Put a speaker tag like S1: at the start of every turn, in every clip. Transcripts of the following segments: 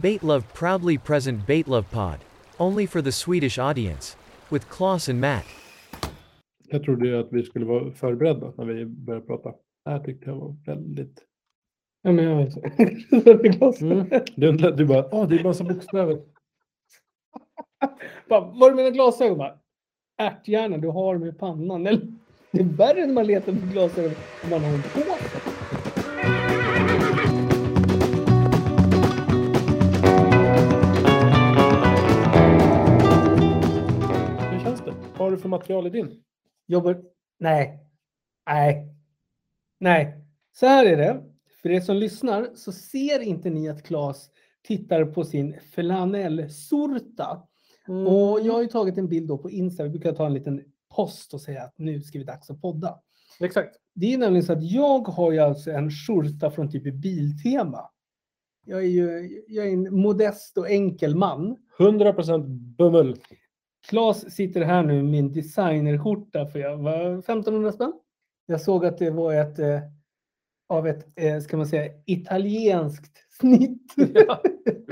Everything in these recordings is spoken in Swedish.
S1: Baitlove proudly present Baitlove Pod. Only for the Swedish audience. With Klaus and Matt.
S2: Jag trodde ju att vi skulle vara förberedda när vi började prata. Det här tyckte jag var väldigt...
S3: Ja, men jag vet. Det är glas.
S2: Du, lät- du bara, åh det är massa bokstäver.
S3: Bara, var är mina glasögon? Bara, Ärthjärna, du har dem i pannan. Eller, det är värre när man letar efter glasögon än man har dem på sig.
S2: Hur känns det? Vad har du för material i din?
S3: Jobbar... Nej. Nej. Nej. Så här är det. För er som lyssnar så ser inte ni att Claes tittar på sin flanellsorta. Och jag har ju tagit en bild då på Insta. Vi brukar ta en liten post och säga att nu ska vi dags att podda.
S2: Exakt.
S3: Det är nämligen så att jag har ju alltså en skjorta från typ Biltema. Jag är ju jag är en modest och enkel man.
S2: 100% bummel.
S3: Claes sitter här nu med min designerskjorta för jag var 1500 spänn. Jag såg att det var ett eh, av ett, eh, ska man säga, italienskt snitt.
S2: Ja,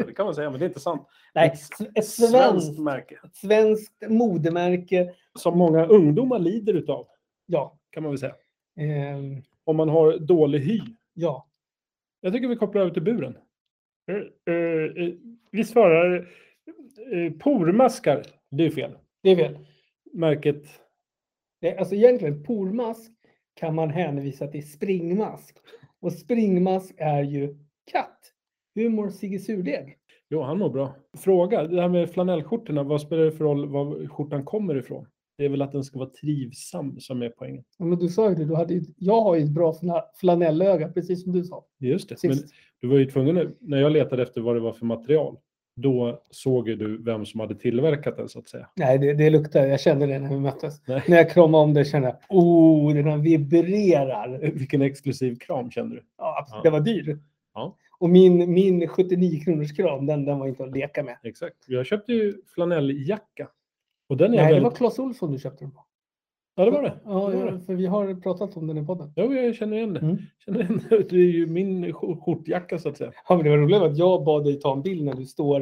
S2: det kan man säga, men det är inte sant.
S3: Nej, s- ett svenskt,
S2: märke.
S3: svenskt modemärke.
S2: Som många ungdomar lider utav,
S3: Ja,
S2: kan man väl säga.
S3: ehm,
S2: Om man har dålig hy.
S3: ja.
S2: Jag tycker vi kopplar över till buren. Eh, vi svarar uh, pormaskar. Det är fel.
S3: det är fel.
S2: Märket
S3: Det, alltså egentligen, pormask kan man hänvisa till springmask. Och springmask är ju katt. Humor Sigge Surdeg.
S2: Jo, han mår bra. Fråga, det här med flanellskjortorna, vad spelar det för roll var skjortan kommer ifrån? Det är väl att den ska vara trivsam som är poängen.
S3: Ja, men du sa ju det, du hade ju, jag har ju ett bra fla- flanellöga, precis som du sa
S2: Just det. Men
S3: sist.
S2: du var ju tvungen, när jag letade efter vad det var för material, då såg ju du vem som hade tillverkat den så att säga.
S3: Nej, det, det luktar, jag kände det när vi möttes.
S2: Nej.
S3: När jag kramade om det kände jag, oh, den här vibrerar.
S2: Vilken exklusiv kram kände du?
S3: Ja, absolut,
S2: Ja.
S3: Den var dyr.
S2: Ja.
S3: Och min, min 79 kronors kram, den, den var inte att leka med.
S2: Exakt. Jag köpte ju flanelljacka. Och den är
S3: Nej, det
S2: väldigt...
S3: var Clas Olsson du köpte den på.
S2: Ja, det var det.
S3: Ja,
S2: det var
S3: ja,
S2: det.
S3: för vi har pratat om den i podden.
S2: Jo, jag känner igen det.
S3: Mm.
S2: Känner igen det. det är ju min skjort- skjortjacka så att säga.
S3: Ja, men det var roligt att jag bad dig ta en bild när du står,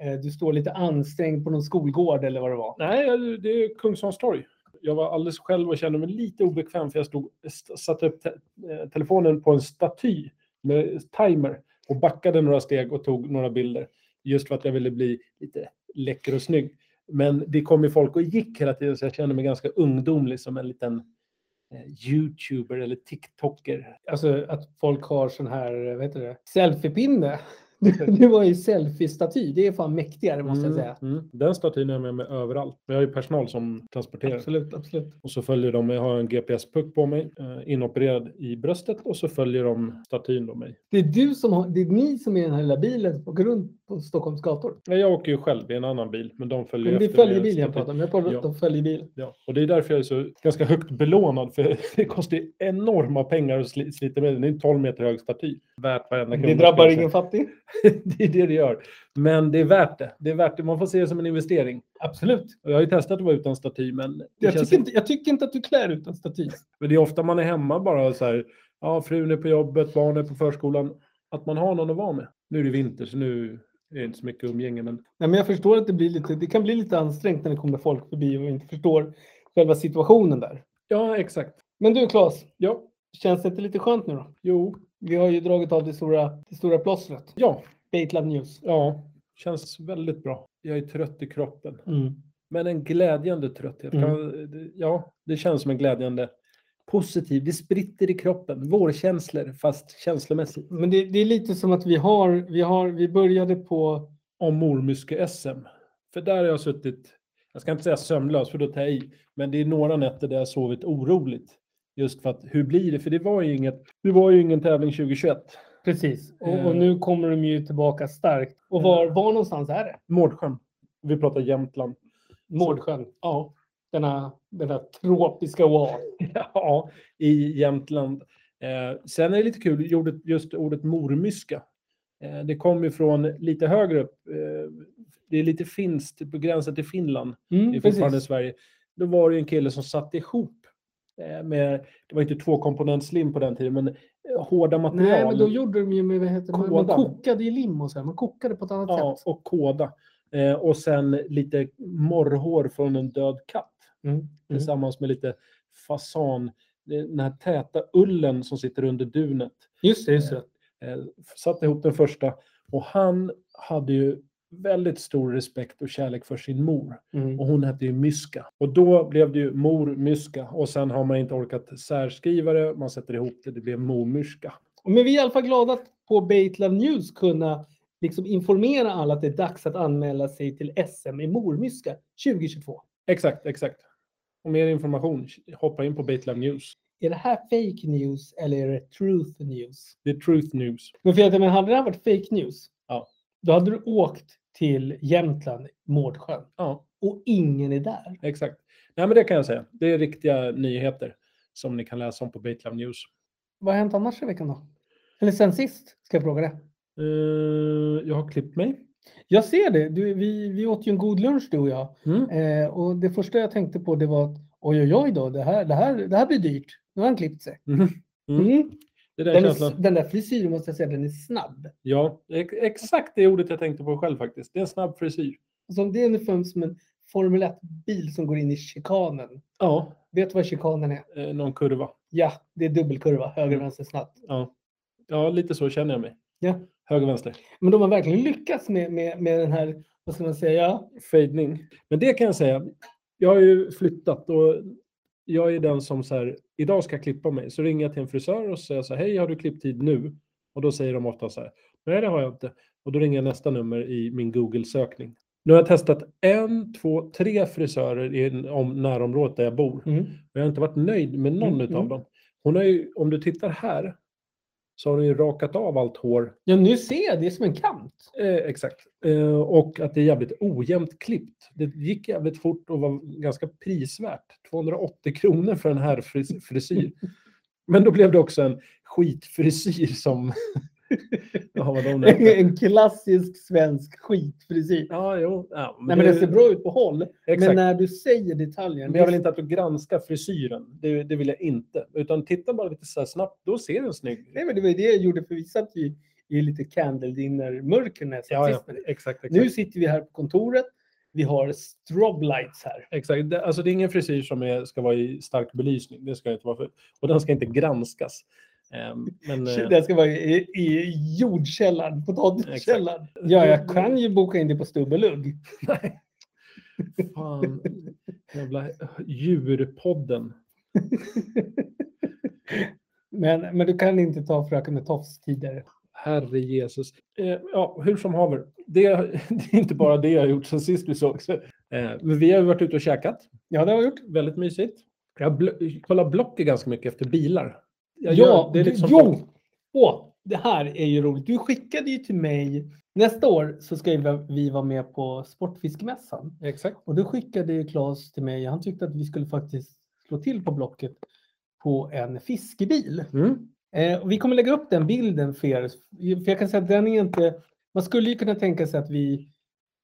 S3: eh, du står lite ansträngd på någon skolgård eller vad det var.
S2: Nej, jag- det är Kungsholms torg. Jag var alldeles själv och kände mig lite obekväm för jag stod, st- satte upp te eh, telefonen på en staty med timer och backade några steg och tog några bilder. Just för att jag ville bli lite läcker och snygg. Men det kom ju folk och gick hela tiden så jag kände mig ganska ungdomlig som en liten eh, YouTuber eller TikToker.
S3: Alltså att folk har sån här, eh, vad heter det, selfiepinne. Du, du var ju selfiestaty, det är fan mäktigare måste jag säga.
S2: Mm. Den statyn är jag med mig överallt. Jag har ju personal som transporterar.
S3: Absolut, absolut.
S2: Och så följer de mig, jag har en GPS-puck på mig, eh, inopererad i bröstet och så följer de statyn då mig.
S3: Det är du som har, det är ni som är den här lilla bilen som åker runt på Stockholms gator.
S2: Nej, Jag åker ju själv i en annan bil, men de följer
S3: Men det är
S2: efter mig i
S3: följebil jag
S2: statyn.
S3: pratar om, jag pratar
S2: Ja.
S3: om följebil.
S2: Ja, och det är därför jag är så ganska högt belånad, för det kostar ju enorma pengar att sli- slita med den. Det är en 12 meter hög staty. Värt varenda krona.
S3: Det drabbar
S2: ska
S3: ingen
S2: jag
S3: fattig.
S2: säga. det är det det gör. Men det är värt det. Det är värt det. Man får se det som en investering.
S3: Absolut.
S2: Och Jag har ju testat att vara utan staty, men det,
S3: Jag
S2: känns
S3: tycker, inte, jag tycker inte att du klär ut en staty.
S2: Men det är ofta man är hemma bara och så här, ja frun är på jobbet, barnen är på förskolan. Att man har någon att vara med. Nu är det vinter så nu är det inte så mycket umgänge. Men
S3: Nej, men jag förstår att det, blir lite, det kan bli lite ansträngt när det kommer folk förbi och inte förstår själva situationen där.
S2: ja, exakt.
S3: Men du Claes,
S2: Ja,
S3: känns det inte lite skönt nu då?
S2: jo,
S3: Vi har ju dragit av det stora, det stora plåstret.
S2: ja,
S3: Baitlab News.
S2: ja. Känns väldigt bra. Jag är trött i kroppen. Men en glädjande trötthet.
S3: Mm.
S2: Kan- det- Ja, det känns som en glädjande positiv. Det spritter i kroppen. Vårkänslor fast känslomässigt.
S3: Men det, det är lite som att vi har, vi har, vi började på,
S2: Om mormyske-SM. För där har jag suttit, jag ska inte säga sömnlös för då tar jag i, men det är några nätter där jag sovit oroligt. Just för att hur blir det? För det var ju, inget, det var ju ingen tävling 2021.
S3: precis, och, och
S2: Eh.
S3: nu kommer de ju tillbaka starkt. Och var,
S2: Eh.
S3: var någonstans är det?
S2: Mårdsjön. Vi pratar Jämtland.
S3: Mårdsjön,
S2: Ja,
S3: denna, denna tropiska oas.
S2: ja i Jämtland. Eh, sen är det lite kul, ordet, just ordet mormyska. Eh, det kommer ju från lite högre upp. Eh, det är lite finskt, på gränsen till Finland. Det är
S3: Mm,
S2: fortfarande
S3: precis.
S2: Sverige. Då var det ju en kille som satte ihop eh, med, det var inte tvåkomponentslim på den tiden, men eh, hårda material.
S3: Nej, men då gjorde de ju med, vad heter det, man, man
S2: Kådan.
S3: kokade i lim och så här. Man kokade på ett annat
S2: ja,
S3: sätt.
S2: och kåda. Eh, och sen lite morrhår från en död katt
S3: Mm. Mm.
S2: tillsammans med lite fasan, eh, den här täta ullen som sitter under dunet.
S3: Just det, just det.
S2: eh, satte ihop den första och han hade ju väldigt stor respekt och kärlek för sin mor.
S3: Mm.
S2: Och hon hette ju Myska. Och då blev det ju Mor Myska. Och sen har man inte orkat särskriva det, man sätter ihop det, det blev Mor Myska.
S3: Men vi är i alla fall glada att på Baitlove News kunna liksom informera alla att det är dags att anmäla sig till SM i mormyska 2022.
S2: Exakt, exakt. Och mer information, hoppa in på Baitlab News.
S3: Är det här fake news eller är det truth news?
S2: Det är Truth News.
S3: Men för att, jag menar, hade det här varit fake news,
S2: Ja.
S3: då hade du åkt till Jämtland, Mårdsjön,
S2: Ja,
S3: och ingen är där.
S2: exakt. Nej, men det kan jag säga. Det är riktiga nyheter som ni kan läsa om på Baitlab News.
S3: Vad har hänt annars i veckan då? Eller sen sist, ska jag fråga det.
S2: Eh, jag har klippt mig.
S3: Jag ser det. Du, vi, vi åt ju en god lunch du och jag.
S2: Mm.
S3: Eh, och det första jag tänkte på det var att oj, oj, oj då, det här, det här, det här blir dyrt. Nu har han klippt sig.
S2: Mhm. Mm.
S3: Mm.
S2: Det där
S3: Den,
S2: känslan.
S3: är, den där frisyren måste jag säga, den är snabb.
S2: Ja, ex- exakt det ordet jag tänkte på själv faktiskt. Det är en snabb frisyr.
S3: Alltså, det är ungefär som en Formel 1-bil som går in i chikanen.
S2: Ja,
S3: Vet du vad chikanen är?
S2: eh, någon kurva.
S3: Ja, det är dubbelkurva,
S2: Mm.
S3: höger, vänster, snabbt.
S2: Ja. ja, lite så känner jag mig.
S3: Ja.
S2: Höger, vänster.
S3: Men de har verkligen lyckats med, med, med den här, vad ska man säga?
S2: Fejdning. Men det kan jag säga. Jag har ju flyttat och jag är den som så här, idag ska jag klippa mig. Så ringer jag till en frisör och säger så här, hej har du klipptid nu? Och då säger de ofta så här, nej det har jag inte. Och då ringer jag nästa nummer i min Google-sökning. Nu har jag testat en, två, tre frisörer i en- om närområdet där jag bor.
S3: Mm.
S2: Och jag har inte varit nöjd med någon
S3: Mm,
S2: utav
S3: mm.
S2: dem. Hon har ju, om du tittar här, så har hon ju rakat av allt hår.
S3: Ja, nu ser jag, det är som en kant.
S2: Eh, exakt. Eh, och att det är jävligt ojämnt klippt. Det gick jävligt fort och var ganska prisvärt. 280 kronor för en herrfris- frisyr. Men då blev det också en skitfrisyr som... ja, vad de heter.
S3: en klassisk svensk skitfrisyr.
S2: ja, jo. Ja,
S3: Nej, men det ser bra ut på håll.
S2: Exakt.
S3: Men eh, när du säger detaljen.
S2: Men jag vill inte att du granskar frisyren. Det, det vill jag inte. Utan titta bara lite så här snabbt. Då ser den snygg ut.
S3: Nej, men det var ju det jag gjorde för vi satt ju i lite candle dinner-mörker när jag satt
S2: Ja, ja.
S3: sist med dig.
S2: Exakt, exakt.
S3: Nu sitter vi här på kontoret. Vi har strobe lights här.
S2: Exakt. Det, alltså det är ingen frisyr som är, ska vara i stark belysning. Det ska inte vara för, och den ska inte granskas. Ehm, men, eh,
S3: Det här ska vara i, i jordkällaren, potatiskällaren. Ja, jag kan ju boka in det på Stubbelugg.
S2: nej. Fan. Jävla djurpodden.
S3: Men, men du kan inte ta Fröken med tofs tidigare.
S2: Herre Jesus. Eh, ja, hur som haver. Det, det är inte bara det jag har gjort sen sist vi sågs. Eh, men vi har ju varit ute och käkat.
S3: Ja, det har jag gjort.
S2: Väldigt mysigt. Jag bl- kollar Blocket ganska mycket efter bilar. Jag
S3: ja,
S2: gör- det är liksom lite som
S3: jo! Åh, det här är ju roligt. Du skickade ju till mig. Nästa år så ska ju vi vara med på Sportfiskemässan.
S2: Exakt.
S3: Och då skickade ju Claes till mig, han tyckte att vi skulle faktiskt slå till på Blocket på en fiskebil.
S2: Mm.
S3: Eh, och vi kommer lägga upp den bilden för er. För jag kan säga att den är inte... Man skulle ju kunna tänka sig att vi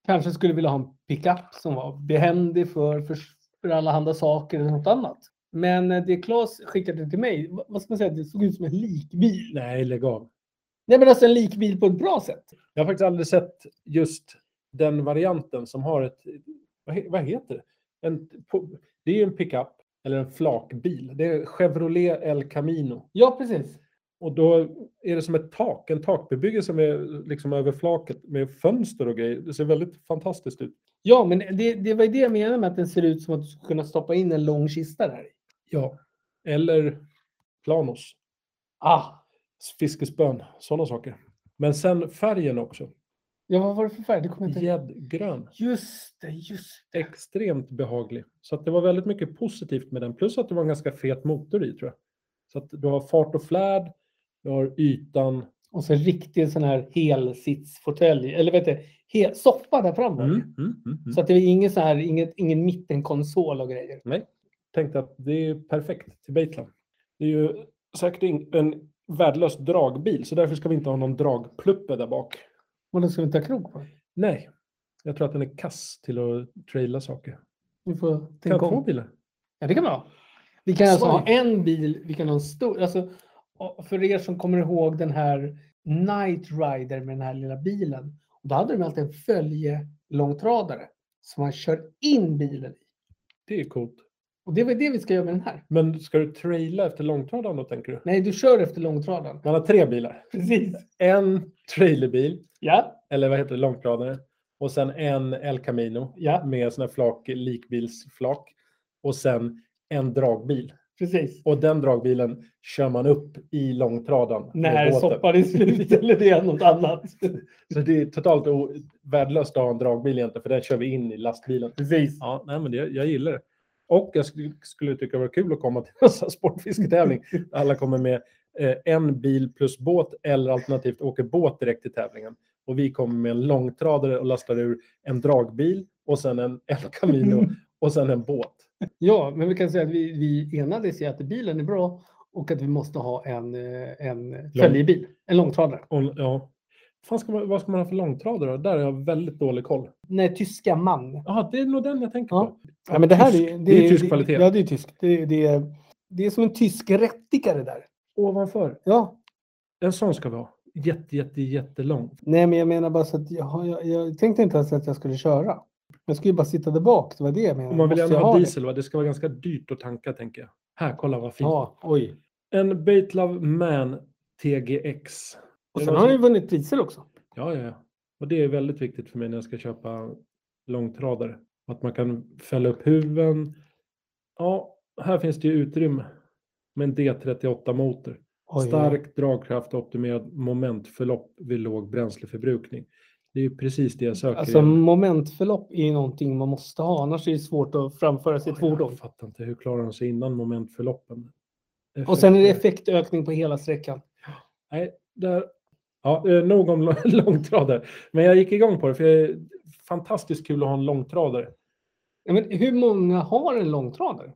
S3: kanske skulle vilja ha en pickup som var behändig för, för, för alla andra saker eller något annat. Men eh, det Claes skickade till mig, vad vad ska man säga, det såg ut som en likbil.
S2: Nej, lägg av.
S3: Nej men alltså en likbil på ett bra sätt.
S2: Jag har faktiskt aldrig sett just den varianten som har ett, vad, he, vad heter det? En, po- det är ju en pickup eller en flakbil. Det är Chevrolet El Camino.
S3: Ja precis.
S2: Och då är det som ett tak, en takbebyggelse med, liksom över flaket med fönster och grejer. Det ser väldigt fantastiskt ut.
S3: Ja men det, det var ju det jag menade med att den ser ut som att du skulle kunna stoppa in en lång kista där i.
S2: Ja. Eller planos,
S3: Ah,
S2: fiskespön, sådana saker. Men sen färgen också.
S3: ja vad var det för färg? Det kommer jag inte
S2: Gäddgrön.
S3: Just det, just det.
S2: extremt behaglig. Så att det var väldigt mycket positivt med den. Plus att det var en ganska fet motor i tror jag. Så att du har fart och flärd, du har ytan.
S3: Och så en riktig sån här helsitsfåtölj, eller vet du, hel, soffa där framme. Så att det är ingen, så här, inget, ingen mittenkonsol och grejer.
S2: Tänkte att det är perfekt till Baitland. Det är ju säkert in- en värdelös dragbil så därför ska vi inte ha någon dragpluppe där bak.
S3: Och då ska vi inte ha krok på den.
S2: Nej, jag tror att den är kass till att traila saker.
S3: Vi får
S2: Kan jag
S3: tänka
S2: få
S3: om.
S2: bilar?
S3: Ja, det kan man ha. Vi kan alltså
S2: Sorry.
S3: ha en bil, vi kan ha en stor. Alltså, och för er som kommer ihåg den här Night Rider med den här lilla bilen. Då hade de alltid en följelångtradare som man kör in bilen i.
S2: Det är coolt.
S3: Och det var det vi ska göra med den här.
S2: Men ska du traila efter långtradaren då, tänker du?
S3: Nej, du kör efter långtradaren.
S2: Man har tre bilar.
S3: Precis.
S2: En trailerbil,
S3: Ja,
S2: eller vad heter det, långtradare. Och sen en El Camino
S3: ja,
S2: med såna här flak, likbilsflak. Och sen en dragbil.
S3: precis.
S2: Och den dragbilen kör man upp i långtradaren. med
S3: När
S2: båten.
S3: soppan är slut eller det är något annat.
S2: Så det är totalt o- värdelöst att ha en dragbil egentligen, för den kör vi in i lastbilen.
S3: Precis.
S2: Ja, nej, men det, jag gillar det. Och jag skulle, skulle tycka det var kul att komma till en sån här sportfisketävling. Alla kommer med eh, en bil plus båt eller alternativt åker båt direkt till tävlingen. Och vi kommer med en långtradare och lastar ur en dragbil och sen en El
S3: Mm.
S2: Camino och sen en båt.
S3: Ja, men vi kan säga att vi, vi enades i att bilen är bra och att vi måste ha en, eh, en följebil, en långtradare.
S2: Och, ja. Fan ska man, vad ska man ha för långtradare då? Där har jag väldigt dålig koll.
S3: Nej, tyska man.
S2: Ja, det är nog den jag tänker
S3: Ja.
S2: på.
S3: Ja, men det här är,
S2: det är tysk kvalitet.
S3: Ja, det är tysk. Det, är- det, är, det är som en tysk rättikare där.
S2: Ovanför.
S3: Ja,
S2: En sån ska vi ha. Jätte, jätte, jättelång.
S3: nej, men jag menar bara så att jag, har- jag, jag tänkte inte ens att jag skulle köra. Jag skulle ju bara sitta där bak. Det var det jag menade.
S2: Om man vill
S3: Måste
S2: gärna
S3: jag
S2: ha
S3: det?
S2: diesel, va? det ska vara ganska dyrt att tanka tänker jag. Här, kolla vad fint.
S3: Ja, oj.
S2: En Baitlove Man TGX.
S3: Och
S2: Det
S3: sen
S2: var
S3: har han
S2: så-
S3: ju vunnit priser också.
S2: Ja, ja, ja. Och det är väldigt viktigt för mig när jag ska köpa långtradare. Att man kan fälla upp huven. Ja, här finns det ju utrymme. Med en D38-motor.
S3: Oj,
S2: Stark dragkraft och optimerad momentförlopp vid låg bränsleförbrukning. Det är ju precis det jag söker.
S3: Alltså
S2: i.
S3: momentförlopp är ju någonting man måste ha, annars är det svårt att framföra sitt fordon.
S2: Jag fattar inte, hur klarar de sig innan momentförloppen?
S3: Och sen är det
S2: Effekter.
S3: effektökning på hela sträckan.
S2: Nej, där. Ja, eh, nog om lång- långtradare. Men jag gick igång på det, för det är fantastiskt kul att ha en långtradare.
S3: Ja, men hur många har en långtradare?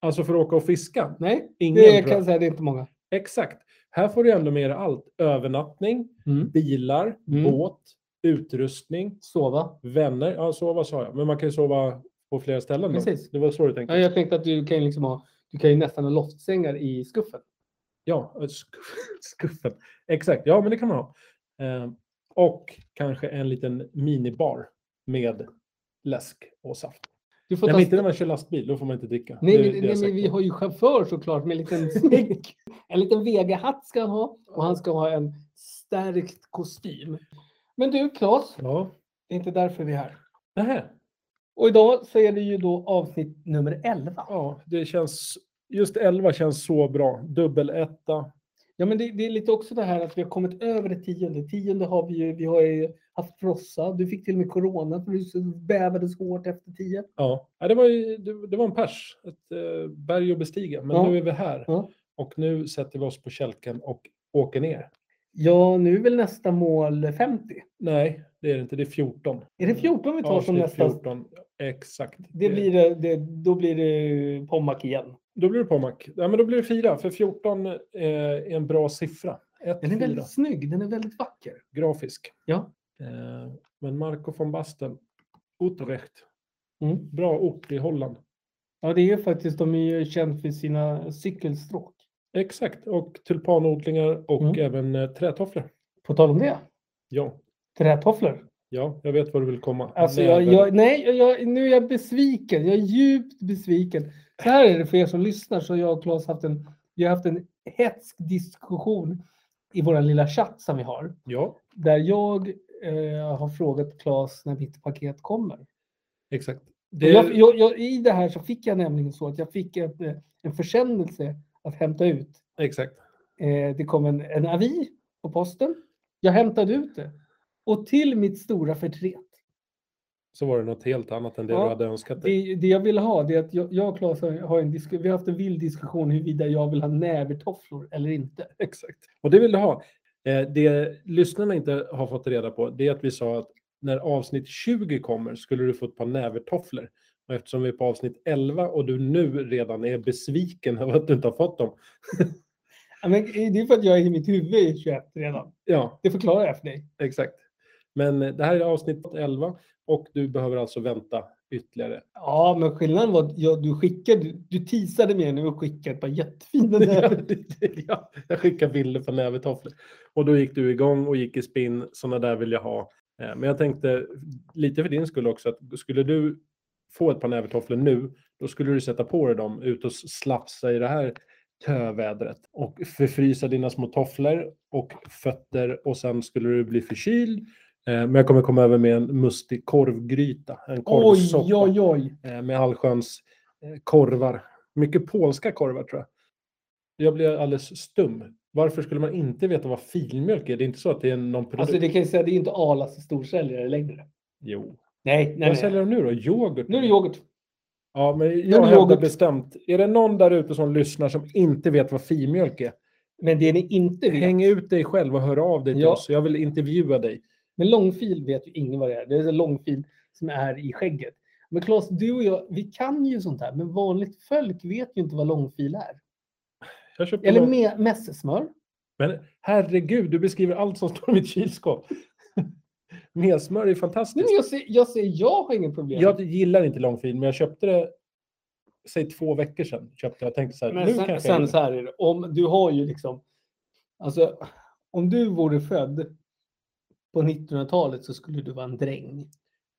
S2: Alltså för att åka och fiska.
S3: Nej,
S2: Ingen,
S3: det
S2: tror
S3: kan jag
S2: jag.
S3: säga, det är inte många.
S2: Exakt. Här får du ändå med dig allt. Övernattning, bilar,
S3: Mm.
S2: båt, utrustning,
S3: Sova.
S2: vänner. Ja, sova sa jag. Men man kan ju sova på flera ställen. Då.
S3: Precis.
S2: Det var så du tänkte?
S3: Ja, jag tänkte att du kan ju liksom ha, du kan ju nästan ha loftsängar i skuffen.
S2: Ja, sk- skuffen. Exakt, ja men det kan man ha. Eh, och kanske en liten minibar med läsk och saft.
S3: Du får
S2: Nej,
S3: ta
S2: men inte när
S3: nej,
S2: man kör lastbil, då får man inte dricka.
S3: nej,
S2: Det är- det är
S3: nej,
S2: jag
S3: men
S2: säker
S3: vi
S2: på.
S3: har ju chaufför såklart med en liten smick. En liten vegahatt ska han ha och han ska ha en stärkt kostym. Men du Claes,
S2: Ja.
S3: det är inte därför vi är här.
S2: Nähä.
S3: Och idag så är det ju då avsnitt nummer 11.
S2: ja, det känns... Just 11 känns så bra. Dubbeletta.
S3: Ja, men det, det är lite också det här att vi har kommit över det tionde. Tionde har vi ju, vi har ju haft frossa. Du fick till och med corona för du så- bävades hårt efter tio.
S2: Ja, ja det, var ju, det, det var en pers. Ett eh, berg att bestiga. Men
S3: Ja.
S2: nu är vi här.
S3: Ja.
S2: Och nu sätter vi oss på kälken och åker ner.
S3: Ja, nu är väl nästa mål 50.
S2: Nej, det är det inte. Det är 14.
S3: Är det 14 vi tar som
S2: Avsnitt
S3: nästa?
S2: 14. Exakt.
S3: Mm. Det blir det, det, då blir det Pommac igen.
S2: Då blir det Pommac. Ja, men då blir det fyra, för 14 eh, är en bra siffra. Ett,
S3: Den är
S2: fyra.
S3: väldigt snygg, den är väldigt vacker.
S2: grafisk.
S3: Ja.
S2: Eh, men Marco van Basten, Utrecht,
S3: Mm.
S2: bra ort i Holland.
S3: Ja, det är ju faktiskt, de är ju kända för sina cykelstråk.
S2: Exakt, och tulpanodlingar och
S3: Mm.
S2: även eh, trätofflor.
S3: På tal om det,
S2: Ja.
S3: trätofflor.
S2: ja, jag vet var du vill komma.
S3: Alltså
S2: Nej,
S3: jag,
S2: väl-
S3: jag, nej, jag- jag, nu är jag besviken. Jag är djupt besviken. Så här är det för er som lyssnar. Så jag och Claes haft en, vi har haft en hätsk diskussion i vår lilla chatt som vi har.
S2: ja,
S3: Där jag eh, har frågat Claes när mitt paket kommer. Och
S2: exakt. Det,
S3: Jag, jag, jag, I det här så fick jag nämligen så att jag fick ett, eh, en försändelse att hämta ut.
S2: Exakt.
S3: Eh, det kom en, en avi på posten. Jag hämtade ut det. Och till mitt stora förtret
S2: Så var det något helt annat än det
S3: Ja,
S2: du hade önskat dig.
S3: Det, det jag vill ha det är att jag, jag och Claes har, har en disku, vi har haft en vild diskussion huruvida jag vill ha nävertofflor eller inte.
S2: Exakt. Och det vill du ha. Eh, Det lyssnarna inte har fått reda på, det är att vi sa att när avsnitt 20 kommer skulle du få ett par nävertofflor. Och eftersom vi är på avsnitt 11 och du nu redan är besviken över att du inte har fått dem.
S3: Ja, Men det är för att jag är i mitt huvud i 21 redan.
S2: Ja,
S3: Det förklarar jag för dig.
S2: exakt. Men eh, det här är avsnitt 11 och du behöver alltså vänta ytterligare.
S3: Ja, men skillnaden var att jag, du skickade, du teasade mig nu och skickade ett par jättefina där.
S2: ja, jag skickade bilder på nävertofflor. Och då gick du igång och gick i spinn. Sådana där vill jag ha. Eh, Men jag tänkte lite för din skull också att skulle du få ett par nävertofflor nu, då skulle du sätta på dig dem ut och slafsa i det här tövädret och förfrysa dina små tofflor och fötter och sen skulle du bli förkyld. Eh, Men jag kommer komma över med en mustig korvgryta, en
S3: Oj,
S2: korvsoppa
S3: oj, oj.
S2: eh, med allsköns eh, korvar. Mycket polska korvar tror jag. Jag blev alldeles stum. Varför skulle man inte veta vad filmjölk är? Det är inte så att det är någon produkt.
S3: Alltså det kan jag säga, det är inte Arlas storsäljare längre.
S2: Jo.
S3: Nej, nej,
S2: Vad
S3: nej.
S2: säljer de nu då? Yoghurt?
S3: Nu är det yoghurt.
S2: Ja, men
S3: är
S2: jag
S3: det
S2: hävdar
S3: yoghurt.
S2: bestämt. Är det någon där ute som lyssnar som inte vet vad filmjölk är?
S3: Men det ni inte vet,
S2: Häng ut dig själv och hör av dig till
S3: Ja.
S2: oss. Jag vill intervjua dig.
S3: men långfil vet ju ingen vad det är. Det är en långfil som är i skägget. Men Claes, du och jag, vi kan ju sånt här, men vanligt folk vet ju inte vad långfil är.
S2: Jag köpte
S3: Eller
S2: någon-
S3: me- mässesmör.
S2: Men herregud, du beskriver allt som står i mitt kylskåp. Messmör är
S3: Nej,
S2: fantastiskt.
S3: men jag säger, jag säger jag har inget problem.
S2: Jag gillar inte långfilm, men jag köpte det säg två veckor sedan. Köpte. Jag tänkte så här, nu
S3: Men sen,
S2: kanske
S3: sen
S2: jag
S3: så här är det. Om du har ju liksom. Alltså, om du vore född på 1900-talet så skulle du vara en dräng.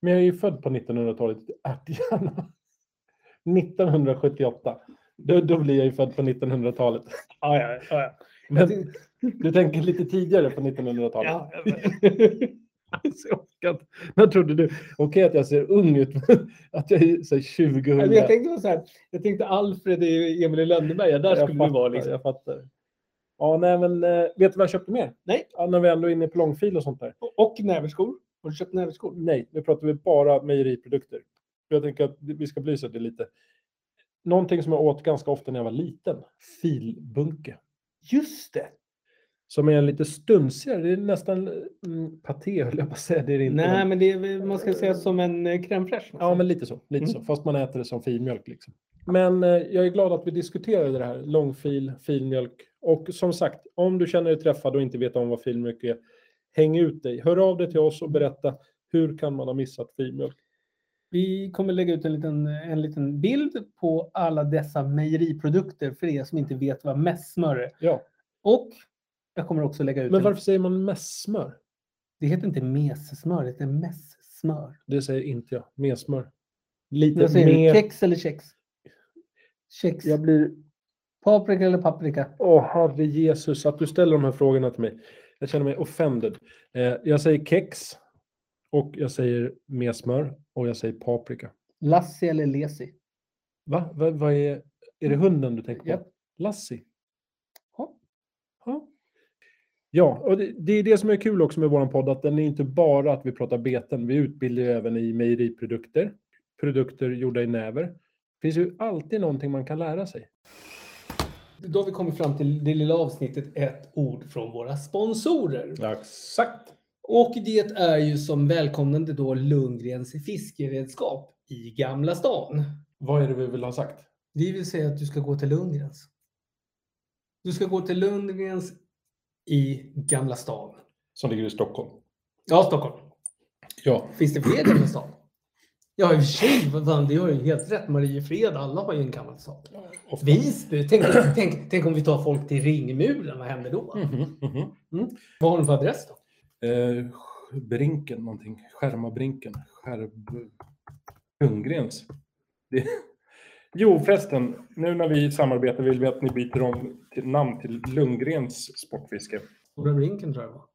S2: Men jag är ju född på 1900-talet i Ärthjärna. 1978. Då, då blir jag ju född på 1900-talet.
S3: Ja, ja, ja.
S2: Men du tänker lite tidigare på 1900-talet.
S3: ja.
S2: Alltså, jag orkar inte. När trodde du? Okej att jag ser ung ut, men att jag är så här 2000.
S3: Men jag tänkte bara så här, jag tänkte Alfred i Emil i Lönneberga, där skulle
S2: fattar,
S3: du vara liksom.
S2: Jag fattar. Ja, nej, men eh, vet du vad jag köpte mer?
S3: Nej.
S2: Ja, när vi ändå är inne på långfil och sånt där.
S3: Och näverskor. Har du köpt näverskor?
S2: Nej, nu pratar vi bara mejeriprodukter. Jag tänker att vi ska belysa det lite. Någonting som jag åt ganska ofta när jag var liten, filbunke.
S3: Just det.
S2: Som är en lite stunsigare, det är nästan mm, paté höll jag på att säga. Det är det inte.
S3: Nej,
S2: men...
S3: men det är, väl- man ska säga som en eh, crème fraîche.
S2: Ja, men lite så. Lite
S3: Mm.
S2: så. Fast man äter det som filmjölk. Liksom. Men eh, jag är glad att vi diskuterade det här, långfil, filmjölk. Och som sagt, om du känner dig träffad och inte vet om vad filmjölk är, häng ut dig. Hör av dig till oss och berätta hur kan man ha missat filmjölk?
S3: Vi kommer lägga ut en liten, eh, en liten bild på alla dessa mejeriprodukter för er som inte vet vad mässmör är.
S2: Ja.
S3: Och jag kommer också lägga ut
S2: Men
S3: en-
S2: varför säger man mässmör?
S3: Det heter inte messmör, det heter mässmör.
S2: Det säger inte jag. Mer smör. Lite
S3: Vad säger
S2: mer.
S3: du? Kex eller kex? Kex.
S2: Jag blir...
S3: Paprika eller paprika?
S2: Åh, herre Jesus, att du ställer de här frågorna till mig. Jag känner mig offended. Eh, jag säger kex. Och jag säger mer smör. Och jag säger paprika.
S3: Lassi eller lesi?
S2: Va? Va vad är... Är det hunden du tänker på?
S3: Japp.
S2: Lassie?
S3: Ja.
S2: Ja. Ja, och det, det är det som är kul också med vår podd, att den är inte bara att vi pratar beten, vi utbildar ju även i mejeriprodukter, produkter gjorda i näver. Det finns ju alltid någonting man kan lära sig.
S3: Då har vi kommit fram till det lilla avsnittet ett ord från våra sponsorer.
S2: Exakt.
S3: Och det är ju som välkomnande då Lundgrens fiskeredskap i Gamla stan.
S2: Vad är det vi vill ha sagt?
S3: Vi vill säga att du ska gå till Lundgrens. Du ska gå till Lundgrens i Gamla stan.
S2: Som ligger i Stockholm.
S3: Ja, Stockholm.
S2: Ja.
S3: Finns det fler Gamla stan? Ja, i och för sig. vad fan, Det har ju helt rätt. Mariefred, alla har ju en Gamla stan.
S2: ofta.
S3: Visby. Tänk, tänk, tänk om vi tar folk till Ringmuren. Vad händer då?
S2: Mhm, mhm.
S3: Vad har de för adress då?
S2: Eh, brinken någonting. Skärmabrinken. Skärb... Ljunggrens. Det... Jo förresten, nu när vi samarbetar vill vi att ni byter om till namn till Lundgrens Sportfiske.
S3: Stora Brinken tror jag det var.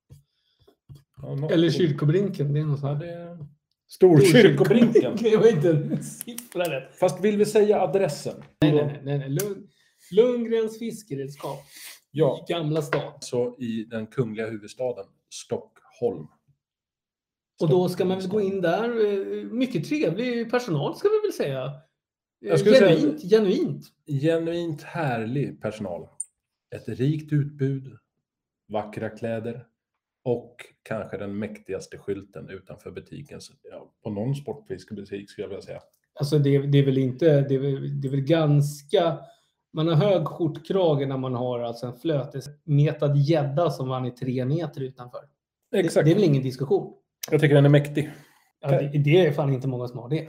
S2: Ja, något-
S3: Eller Kyrkobrinken. Det är något sånt. här.
S2: Det- Storkyrkobrinken.
S3: Det var inte en siffra rätt.
S2: Fast vill vi säga adressen?
S3: Nej, nej, nej. nej, nej. Lund, Lundgrens fiskeredskap
S2: Ja,
S3: i Gamla stan.
S2: så i den kungliga huvudstaden Stockholm.
S3: Och då ska man väl gå in där. eh, Mycket trevlig personal ska vi väl säga. Eh,
S2: Jag skulle säga-
S3: genuint, genuint.
S2: Genuint härlig personal. Ett rikt utbud, vackra kläder och kanske den mäktigaste skylten utanför butiken. Så, ja, på någon sportfiskebutik skulle jag vilja säga.
S3: Alltså det, det är väl inte, det är väl, det är väl ganska, man har hög skjortkrage när man har alltså en flötesmetad gädda som vann i tre meter utanför. Det, det är väl ingen diskussion.
S2: Jag tycker den är mäktig.
S3: Ja, det, det är fan inte många som har det.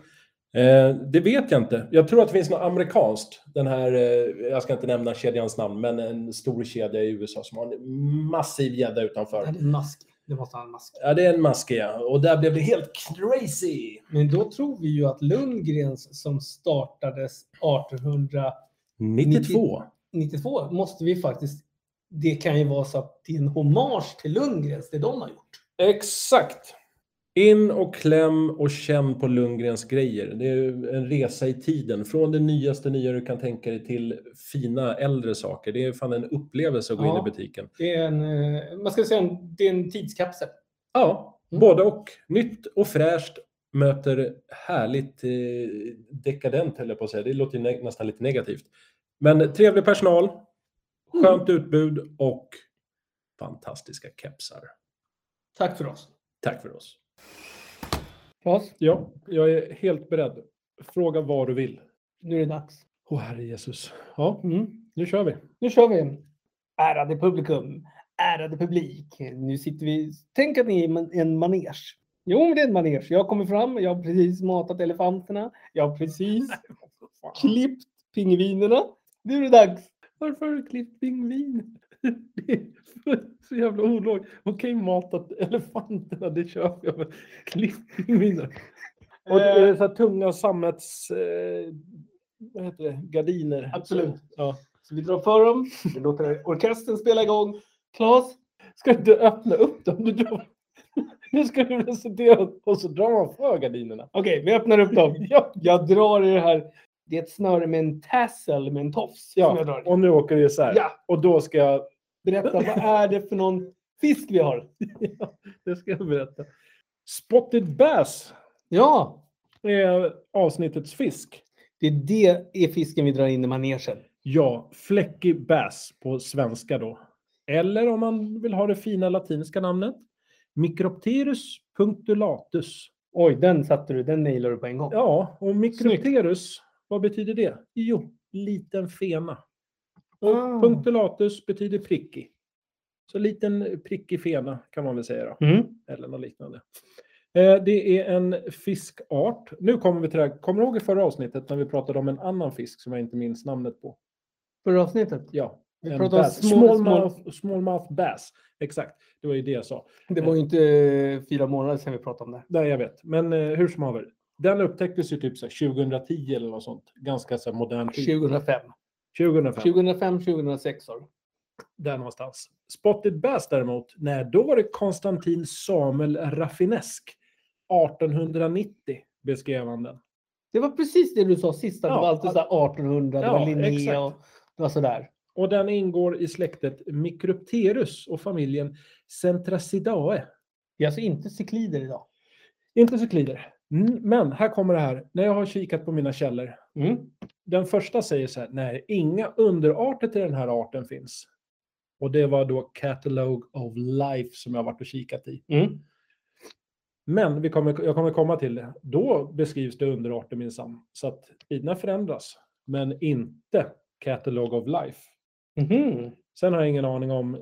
S2: Eh, det vet jag inte. Jag tror att det finns något amerikanskt. Den här, eh, jag ska inte nämna kedjans namn, men en stor kedja i USA som har en massiv gädda utanför.
S3: Nej, det är en mask. Det måste ha en mask.
S2: Ja, det är en maske, ja. Och där blev det helt crazy.
S3: Men då tror vi ju att Lundgrens som startades 1892
S2: 92.
S3: måste vi faktiskt... Det kan ju vara så att det är en hommage till Lundgrens, det de har gjort.
S2: Exakt. In och kläm och känn på Lundgrens grejer. Det är ju en resa i tiden. Från det nyaste nya du kan tänka dig till fina äldre saker. Det är fan en upplevelse att gå
S3: Ja.
S2: in i butiken.
S3: Det är en, eh, man ska säga en, det är en tidskapsel.
S2: Ja,
S3: Mm.
S2: både och. Nytt och fräscht möter härligt eh, dekadent, höll jag på att säga. Det låter ju nä- nästan lite negativt. Men trevlig personal,
S3: Mm.
S2: skönt utbud och fantastiska kepsar.
S3: Tack för oss.
S2: Tack för oss.
S3: Claes,
S2: Ja, jag är helt beredd. Fråga vad du vill.
S3: nu är det dags.
S2: Åh, herre Jesus. Ja, mm. nu kör vi.
S3: Nu kör vi! Ärade publikum, ärade publik. Nu sitter vi... Tänk att ni är en- en manege. Jo, men det är en manege. Jag kommer fram, jag har precis matat elefanterna. Jag har precis klippt pingvinerna. Nu är det dags!
S2: Varför har du klippt pingvin? Det är så jävla olog. Okej, matat elefanterna, det köper jag. Men klippt pingviner. Och det
S3: Eh.
S2: är så här tunga sammets... Eh, vad heter det? Gardiner.
S3: Absolut.
S2: Ja.
S3: Så vi drar för dem. Vi låter orkestern spela igång. Claes,
S2: Ska du inte öppna upp dem? Du drar... Nu ska du recensera och så drar man för gardinerna.
S3: okej, vi öppnar upp dem.
S2: Ja,
S3: Jag drar i det här. Det är ett snöre med en tassel med en tofs som jag
S2: ja.
S3: drar i.
S2: och nu åker vi isär.
S3: Ja.
S2: Och då ska jag...
S3: Berätta, vad är det för någon fisk vi har?
S2: Det ska jag berätta. Spotted bass
S3: Ja,
S2: är avsnittets fisk.
S3: Det är det är fisken vi drar in i manegen.
S2: Ja, fläckig bass på svenska då. Eller om man vill ha det fina latinska namnet. Micropterus punctulatus.
S3: Oj, den satte du. Den nailade du på en gång.
S2: Ja, och micropterus, vad betyder det? Jo, liten fena. Och
S3: Ah.
S2: punctulatus betyder prickig. Så liten prickig fena kan man väl säga då,
S3: Mm.
S2: eller något liknande. Eh, Det är en fiskart. Nu kommer vi till det här. Kommer du ihåg i förra avsnittet när vi pratade om en annan fisk som jag inte minns namnet på?
S3: Förra avsnittet.
S2: Ja,
S3: Vi
S2: en
S3: pratade om
S2: bass.
S3: small-
S2: smallmouth, smallmouth bass. Exakt, det var ju det jag sa.
S3: Det var ju inte eh, fyra månader sedan vi pratade om det.
S2: Nej, jag vet. Men eh, hur som haver. Den upptäcktes ju typ så här 2010 eller något sånt. Ganska så här modern tid.
S3: 2005.
S2: 2005.
S3: 2005, 2006 sa du.
S2: Där någonstans. Spotted Bass däremot, nej, då var det Konstantin Samuel Raffinesk. 1890 beskrev han den.
S3: Det var precis det du sa sist. att
S2: Ja,
S3: det var alltid
S2: att-
S3: så här 1800, det
S2: Ja,
S3: var Linné
S2: exakt.
S3: och det var sådär.
S2: Och den ingår i släktet Micropterus och familjen Centracidae.
S3: Det är alltså inte cyklider idag.
S2: Inte cyklider. Mm, Men här kommer det här. När jag har kikat på mina källor. Mm, Den första säger så här, nej, inga underarter till den här arten finns. Och det var då Catalog of Life som jag har varit och kikat i.
S3: Mm.
S2: Men vi kommer, jag kommer komma till det. Då beskrivs det underarter minsann. Så att tiderna förändras. Men inte Catalog of Life.
S3: Mhm.
S2: Sen har jag ingen aning om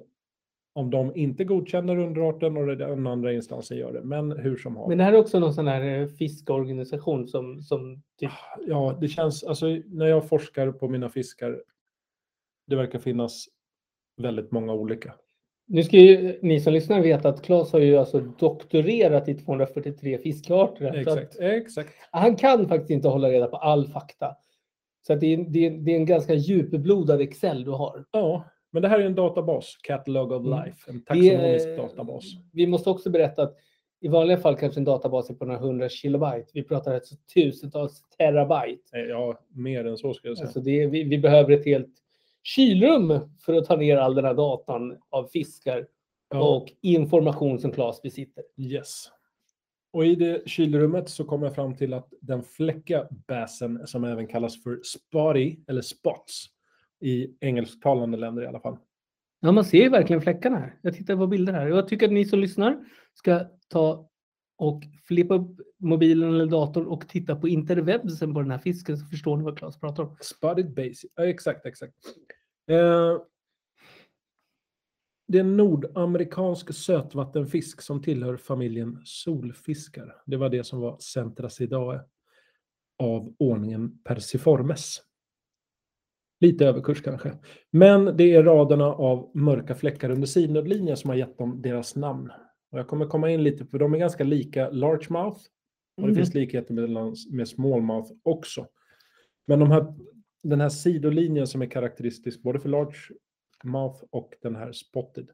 S2: om de inte godkänner underarten och den andra instansen gör det. Men hur som helst.
S3: Men det här är också någon sån här eh, fiskorganisation som, som typ...
S2: Ja, det känns, alltså när jag forskar på mina fiskar, det verkar finnas väldigt många olika.
S3: Nu ska ju ni som lyssnar veta att Claes har ju alltså doktorerat i 243 fiskarter. Så att-
S2: Exakt, exakt.
S3: Han kan faktiskt inte hålla reda på all fakta. Så att det, är, det, är, det är en ganska djupblodad Excel du har.
S2: Ja, men det här är en databas, Catalog of
S3: Mm.
S2: Life, en taxonomisk
S3: Det är-
S2: databas.
S3: Vi måste också berätta att i vanliga fall kanske en databas är på några hundra kilobyte. Vi pratar alltså tusentals terabyte.
S2: Eh, Ja, mer än så skulle jag säga.
S3: Alltså det är, vi, vi behöver ett helt kylrum för att ta ner all den här datan av fiskar
S2: ja,
S3: och information som Claes besitter.
S2: yes. Och i det kylrummet så kom jag fram till att den fläckiga bassen, som även kallas för spotty, eller spots, i engelsktalande länder i alla fall.
S3: Ja, man ser ju verkligen fläckarna här. Jag tittar på bilder här. Jag tycker att ni som lyssnar ska ta och flippa upp mobilen eller datorn och titta på interwebsen på den här fisken så förstår ni vad Claes pratar om.
S2: Spotted Base. Ja, exakt, exakt. Eh, det är en nordamerikansk sötvattenfisk som tillhör familjen solfiskar. Det var det som var Centracidae. av ordningen Persiformes. Lite överkurs kanske. Men det är raderna av mörka fläckar under sidnödlinjen som har gett dem deras namn. Och jag kommer komma in lite, för de är ganska lika largemouth. Och det
S3: Mhm.
S2: finns likheter med, med smallmouth också. Men de här, den här sidolinjen som är karaktäristisk både för largemouth och den här spotted.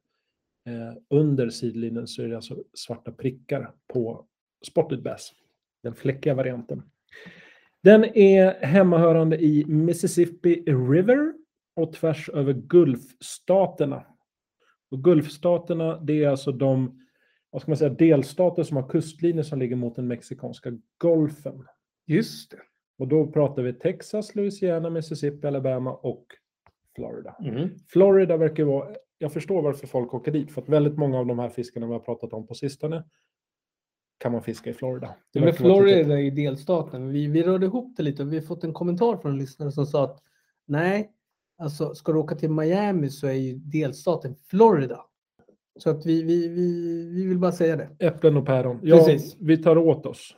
S2: Eh, under sidlinjen så är det alltså svarta prickar på spotted bass. Den fläckiga varianten. Den är hemmahörande i Mississippi River och tvärs över Gulfstaterna. Och Gulfstaterna, det är alltså de vad ska man säga, delstater som har kustlinjer som ligger mot den mexikanska golfen.
S3: Just det.
S2: Och då pratar vi Texas, Louisiana, Mississippi, Alabama och Florida.
S3: Mm.
S2: Florida verkar ju vara, jag förstår varför folk åker dit, för att väldigt många av de här fiskarna vi har pratat om på sistone kan man fiska i Florida. Det
S3: Men
S2: verkar vara ett litet-
S3: Florida är ju delstaten. Vi, vi rörde ihop det lite och vi har fått en kommentar från en lyssnare som sa att nej, alltså ska du åka till Miami så är ju delstaten Florida. Så att vi, vi, vi, vi vill bara säga det.
S2: Äpplen och päron. Ja,
S3: Precis.
S2: vi tar åt oss.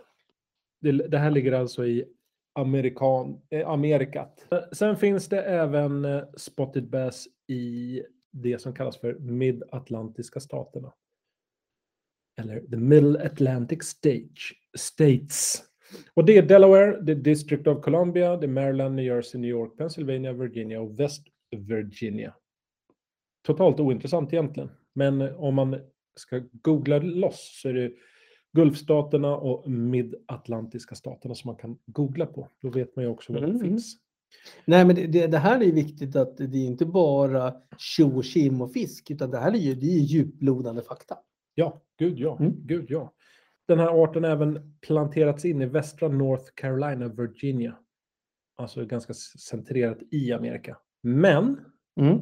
S2: Det, det här ligger alltså i Amerikan, eh, Amerikat. Eh, Sen finns det även eh, spotted bass i det som kallas för Mid-Atlantiska staterna. Eller the Middle Atlantic Stage, States. Och det är Delaware, det är District of Columbia, det är Maryland, New Jersey, New York, Pennsylvania, Virginia och West Virginia. Totalt ointressant egentligen, men om man ska googla loss så är det Gulfstaterna och Mid-Atlantiska staterna som man kan googla på. Då vet man ju också vad
S3: Mm.
S2: det finns.
S3: Nej, men det- det, det här är viktigt att det är inte bara tjo och tjim och fisk, utan det här är ju det är djuplodande fakta.
S2: Ja, gud ja,
S3: Mm.
S2: gud ja. Den här arten har även planterats in i västra North Carolina, Virginia. Alltså ganska s- centrerat i Amerika. Men Mm.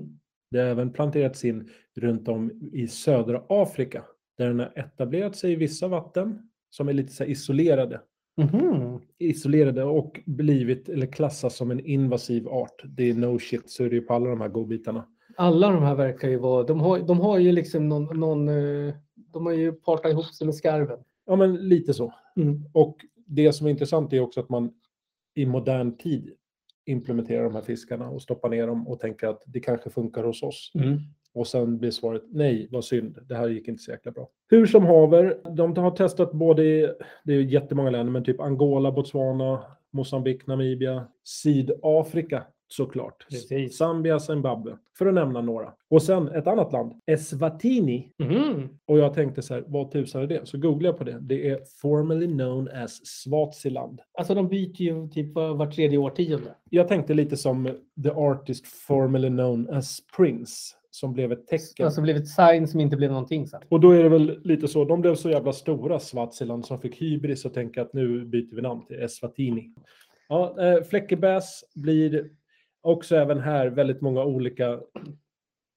S2: det har även planterats in runt om i södra Afrika. Där den har etablerat sig i vissa vatten som är lite så här isolerade.
S3: Mhm.
S2: isolerade och blivit eller klassas som en invasiv art. Det är no shit, så är det ju på alla de här godbitarna.
S3: Alla de här verkar ju vara, de har, de har ju liksom någon, någon eh, de har ju partat ihop sig med skarven.
S2: Ja, men lite så. Och det som är intressant är också att man i modern tid implementerar de här fiskarna och stoppar ner dem och tänker att det kanske funkar hos oss.
S3: Mm.
S2: Och sen blir svaret nej, vad synd, det här gick inte så jäkla bra. Hur som haver, de har testat både, i- det är jättemånga länder, men typ Angola, Botswana, Mozambik, Namibia, Sydafrika såklart.
S3: Precis.
S2: Zambia, Zimbabwe, för att nämna några. Och sen ett annat land, Eswatini.
S3: Mhm.
S2: Och jag tänkte så här, vad tusan är det? Så googlade jag på det. Det är formerly known as Swaziland.
S3: Alltså de byter ju typ var, var tredje årtionde.
S2: Jag tänkte lite som the artist formerly known as Prince, som blev ett tecken.
S3: Alltså blev ett sign som inte blev någonting sen.
S2: Och då är det väl lite så, de blev så jävla stora, Swaziland, som fick hybris och tänka att nu byter vi namn till Eswatini. Ja, eh, Fläckebäs blir också även här väldigt många olika.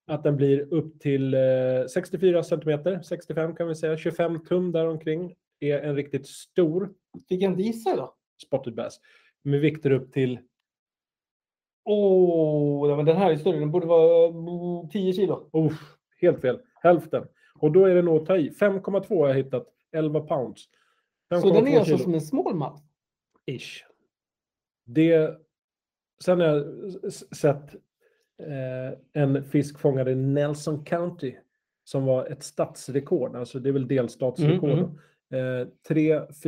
S2: Att den blir upp till eh, 64 centimeter, 65 kan vi säga, 25 tum däromkring. Är en riktigt stor
S3: Fick jag inte gissa då?
S2: spotted bass med vikter upp till,
S3: Åh, nej, men den här är större. Den borde vara mm, 10 kilo.
S2: oh, helt fel, hälften. Och då är det nog att ta i. 5,2 har jag hittat, 11 pounds.
S3: Så den
S2: 5,2
S3: är alltså
S2: kilo.
S3: som en smallmouth.
S2: Ish. Det, sen har jag s- sett eh, en fisk fångad i Nelson County som var ett statsrekord, alltså det är väl delstatsrekord.
S3: Mm,
S2: då. Eh,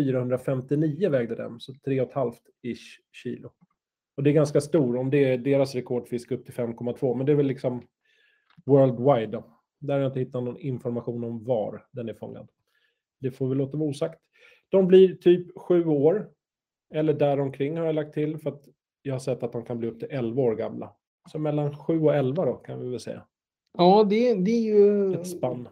S2: 3,459 vägde den, så 3,5 ish kilo. Och det är ganska stor, om det är deras rekordfisk upp till 5,2, men det är väl liksom worldwide. Då. Där har jag inte hittat någon information om var den är fångad. Det får vi låta vara osagt. De blir typ sju år, eller däromkring har jag lagt till, för att jag har sett att de kan bli upp till 11 år gamla. Så mellan 7 och 11 då, kan vi väl säga.
S3: Ja, det, det är ju...
S2: Ett spann.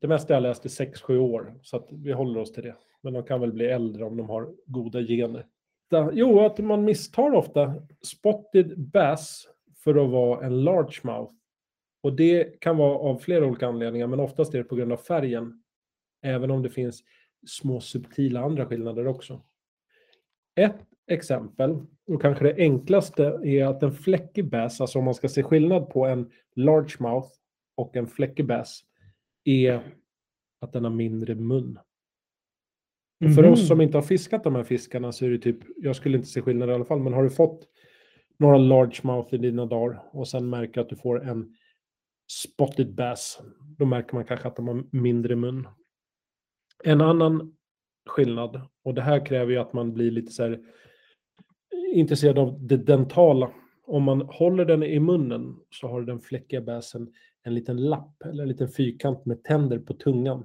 S2: Det mesta jag läst är 6-7 år, så att vi håller oss till det. Men de kan väl bli äldre om de har goda gener. Da- Jo, att man misstar ofta spotted bass för att vara en largemouth. Och det kan vara av flera olika anledningar, men oftast är det på grund av färgen. Även om det finns små subtila andra skillnader också. Ett exempel, och kanske det enklaste, är att en fläckig bass, alltså om man ska se skillnad på en largemouth och en fläckig bass, är att den har mindre mun. Och För
S3: Mhm.
S2: oss som inte har fiskat de här fiskarna så är det typ, jag skulle inte se skillnad i alla fall, men har du fått några largemouth i dina dagar och sen märker att du får en spotted bass, då märker man kanske att de har mindre mun. En annan skillnad, och det här kräver ju att man blir lite så här intresserad av det dentala. Om man håller den i munnen så har den fläckiga bassen en liten lapp eller en liten fyrkant med tänder på tungan.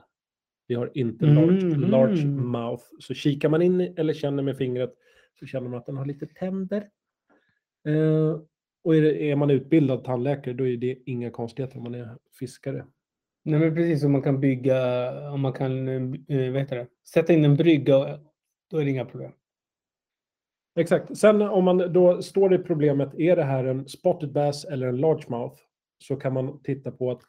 S2: Vi har inte large,
S3: Mhm.
S2: large mouth. Så kikar man in i- eller känner med fingret så känner man att den har lite tänder. Eh, och är, det, är man utbildad tandläkare då är det inga konstigheter om man är fiskare.
S3: Nej, men precis som man kan bygga, om man kan eh, vad heter det, sätta in en brygga, och- då är det inga problem.
S2: Exakt. Sen om man då står i problemet, är det här en spotted bass eller en largemouth? Så kan man titta på att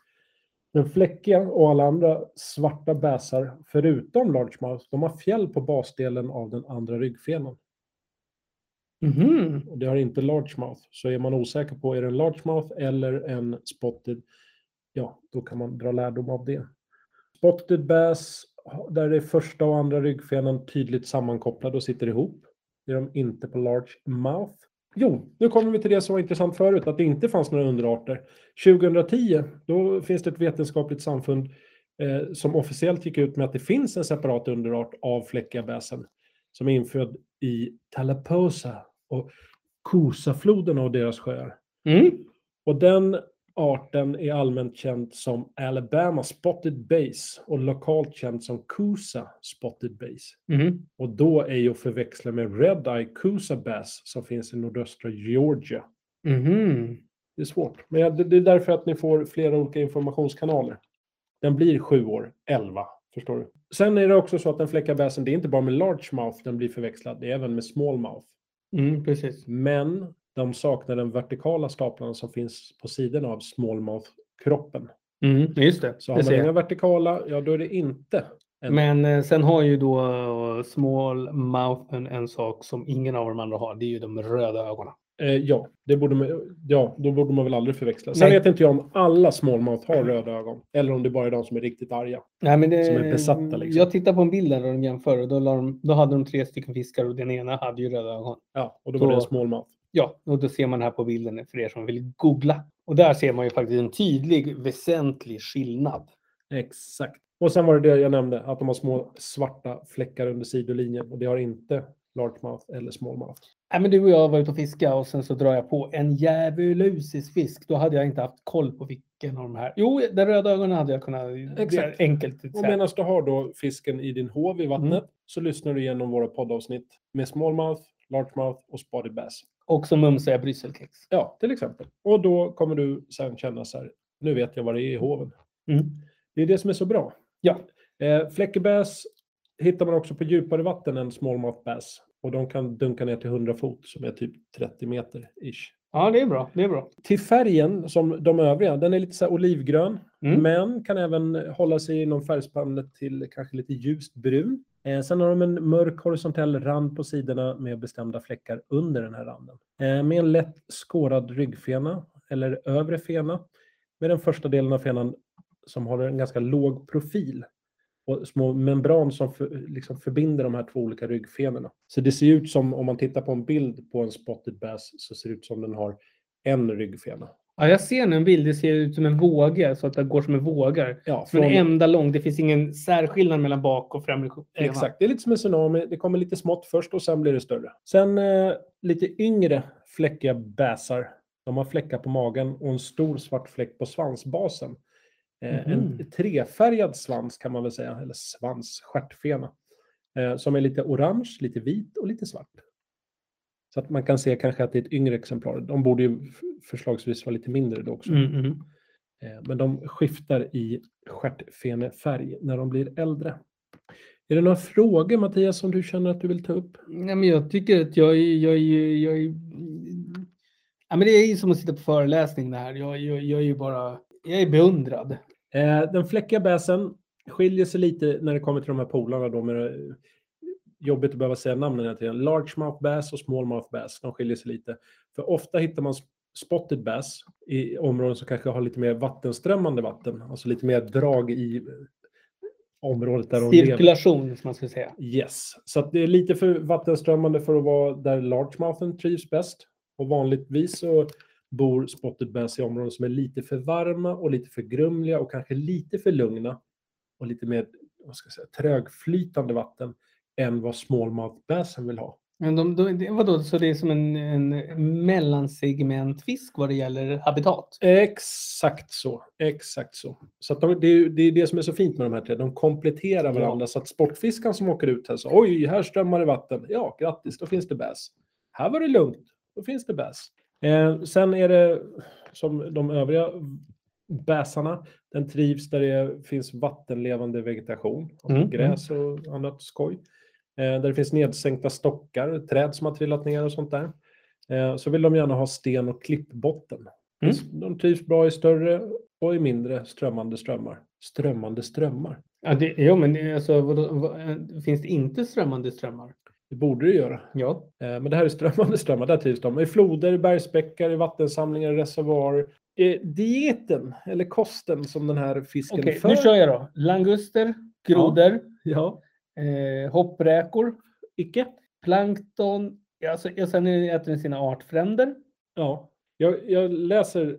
S2: den fläckiga och alla andra svarta bäsar, förutom largemouth, de har fjäll på basdelen av den andra ryggfenan.
S3: Mhm.
S2: Och det har inte largemouth. Så är man osäker på, är det en largemouth eller en spotted, ja, då kan man dra lärdom av det. Spotted bass, där är första och andra ryggfenan tydligt sammankopplade och sitter ihop. Det är de inte på large mouth. Jo, nu kommer vi till det som var intressant förut, att det inte fanns några underarter. 2010, då finns det ett vetenskapligt samfund eh, som officiellt gick ut med att det finns en separat underart av fläckiga bäsen som är infödd i Talaposa och Kosafloden och deras sjöar.
S3: Mm.
S2: Och den arten är allmänt känd som Alabama Spotted Bass och lokalt känd som Coosa Spotted Bass.
S3: Mhm.
S2: Och då är ju att förväxla med Red Eye Coosa Bass som finns i nordöstra Georgia.
S3: Mhm.
S2: Det är svårt, men jag- det det är därför att ni får flera olika informationskanaler. Den blir sju år, elva, förstår du. Sen är det också så att den fläckiga bäsen, det är inte bara med large mouth den blir förväxlad, det är även med small mouth.
S3: Mm, precis.
S2: Men de saknar den vertikala staplarna som finns på sidorna av smallmouth-kroppen.
S3: Mm, just det.
S2: Så
S3: det
S2: har
S3: ser
S2: man
S3: jag.
S2: inga vertikala, ja då är det inte. en-
S3: Men eh, sen har ju då eh, small mouthen en sak som ingen av de andra har. Det är ju de röda ögonen.
S2: Eh, ja, det borde man, ja, då borde man väl aldrig förväxla. Sen
S3: Nej.
S2: vet inte jag om alla smallmouth har röda ögon. Eller om det bara är de som är riktigt arga.
S3: Nej, men det,
S2: Som är besatta, liksom.
S3: Jag tittar på en bild där de jämför och då, la de, då hade de tre stycken fiskar och den ena hade ju röda ögon.
S2: Ja, och då var det
S3: Så-
S2: en smallmouth.
S3: Ja, och då ser man här på bilden för er som vill googla. Och där ser man ju faktiskt en tydlig, väsentlig skillnad.
S2: Exakt. Och sen var det det jag nämnde, att de har små svarta fläckar under sidolinjen. Och det har inte largemouth eller smallmouth.
S3: Nej, men du och jag var ute och fiska och sen så drar jag på en djävulusisk fisk. Då hade jag inte haft koll på vilken av de här. Jo, den röda ögonen hade jag kunnat. Exakt. Det är
S2: Exakt.
S3: enkelt. att
S2: Och
S3: säga.
S2: medan du har då fisken i din hov i vattnet
S3: Mm.
S2: så lyssnar du igenom våra poddavsnitt med smallmouth, largemouth och spotted bass.
S3: Och så mumsar jag brysselkex.
S2: Ja, till exempel. Och då kommer du sen känna så här, nu vet jag vad det är i hoven.
S3: Mm.
S2: Det är det som är så bra.
S3: Ja.
S2: Eh, Fläckebass hittar man också på djupare vatten än smallmouth bass. Och de kan dunka ner till 100 fot som är typ 30 meter ish.
S3: Ja, det är bra. Det är bra.
S2: Till färgen som de övriga, den är lite så här olivgrön.
S3: Mm.
S2: Men kan även hålla sig inom färgspannet till kanske lite ljust brun. Eh, sen har de en mörk horisontell rand på sidorna med bestämda fläckar under den här randen. Eh, med en lätt skårad ryggfena eller övre fena. Med den första delen av fenan som har en ganska låg profil. Och små membran som för, liksom förbinder de här två olika ryggfenorna. Så det ser ut som, om man tittar på en bild på en spotted bass, så ser det ut som den har en ryggfena.
S3: Ja, jag ser nu en bild. Det ser ut som en våge, så att det går som en vågar.
S2: Ja,
S3: Från
S2: från-
S3: ända lång. Det finns ingen särskillnad mellan bak och främre skjortan.
S2: Exakt, det är lite som en tsunami. Det kommer lite smått först och sen blir det större. Sen eh, lite yngre fläckiga bäsar. De har fläckar på magen och en stor svart fläck på svansbasen. Eh,
S3: Mhm.
S2: En trefärgad svans kan man väl säga, eller svans, stjärtfena. Eh, som är lite orange, lite vit och lite svart. Så att man kan se kanske att det är ett yngre exemplar. De borde ju f- förslagsvis vara lite mindre då också.
S3: Mm, mm.
S2: Eh, Men de skiftar i stjärtfenefärg när de blir äldre. Är det några frågor Mattias som du känner att du vill ta upp?
S3: Nej, men jag tycker att jag är... Jag är, jag är... Ja, men det är ju som att sitta på föreläsning det här. Jag, jag, jag är ju bara... Jag är beundrad.
S2: Eh, Den fläckiga bäsen skiljer sig lite när det kommer till de här polarna då med det- jobbigt att behöva säga namnen hela tiden. Large mouth bass och small mouth bass, de skiljer sig lite. För ofta hittar man spotted bass i områden som kanske har lite mer vattenströmmande vatten, alltså lite mer drag i eh, området där de lever.
S3: Cirkulation som man skulle säga.
S2: Yes, så att det är lite för vattenströmmande för att vara där largemouthen trivs bäst. Och vanligtvis så bor spotted bass i områden som är lite för varma och lite för grumliga och kanske lite för lugna och lite mer vad ska jag säga, trögflytande vatten än vad smallmouth bassen vill ha.
S3: Men de, de, det- vadå, så det är som en, en mellansegmentfisk vad det gäller habitat?
S2: Exakt så. Exakt så. så att de, det, är, ju- det är det som är så fint med de här tre. De kompletterar varandra så att sportfiskaren som åker ut här så oj, här strömmar det vatten. Ja, grattis, då finns det bass. Här var det lugnt, då finns det bass. Eh, sen är det som de övriga bassarna. Den trivs där det finns vattenlevande vegetation, alltså
S3: Mm,
S2: gräs och annat skoj. Eh, där det finns nedsänkta stockar, träd som har trillat ner och sånt där. Eh, så vill de gärna ha sten och klippbotten.
S3: Mm.
S2: De trivs bra i större och i mindre strömmande strömmar. Strömmande strömmar.
S3: Ja, det, jo, men det, är alltså, vadå, vad, eh, finns det inte strömmande strömmar?
S2: Det borde det göra.
S3: Ja.
S2: Eh, Men det här är strömmande strömmar. Där trivs de. I floder, i bergsbäckar, i vattensamlingar, i reservoarer. Eh, Dieten, eller kosten som den här fisken
S3: Okej,
S2: för.
S3: nu kör jag då. Languster, grodor,
S2: Ja,
S3: eh, hoppräkor,
S2: icke.
S3: plankton. Ja, Alltså, och sen är- äter den sina artfränder.
S2: Ja. Jag, jag läser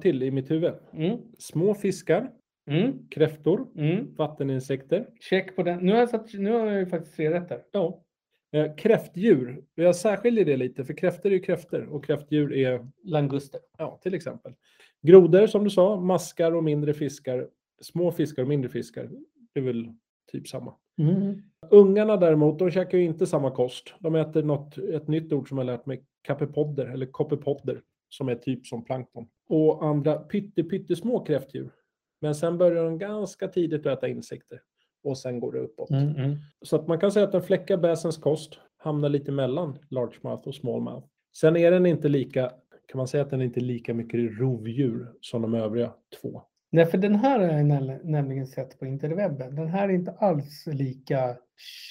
S2: till i mitt huvud.
S3: Mm.
S2: Små fiskar,
S3: Mm.
S2: kräftor,
S3: Mm.
S2: vatteninsekter,
S3: Check på den. Nu har jag, satt, nu har jag ju faktiskt tre rätt där.
S2: Ja. Eh, Kräftdjur, jag särskiljer det lite för kräftor är ju kräftor och kräftdjur är,
S3: Languster.
S2: ja till exempel. Grodor som du sa, maskar och mindre fiskar, små fiskar och mindre fiskar, det är väl typ samma. Ungarna däremot, de käkar ju inte samma kost. De äter något, ett nytt ord som jag lärt mig, kapepodder eller koppepodder som är typ som plankton. Och andra pytte, pyttesmå kräftdjur. Men sen börjar de ganska tidigt att äta insekter och sen går det uppåt.
S3: Mm, mm.
S2: Så att man kan säga att den fläckar bäsens kost, hamnar lite mellan largemouth och smallmouth. Sen är den inte lika, kan man säga att den inte är lika mycket rovdjur som de övriga två.
S3: Nej, för den här har jag näm- nämligen sett på interwebben. Den här är inte alls lika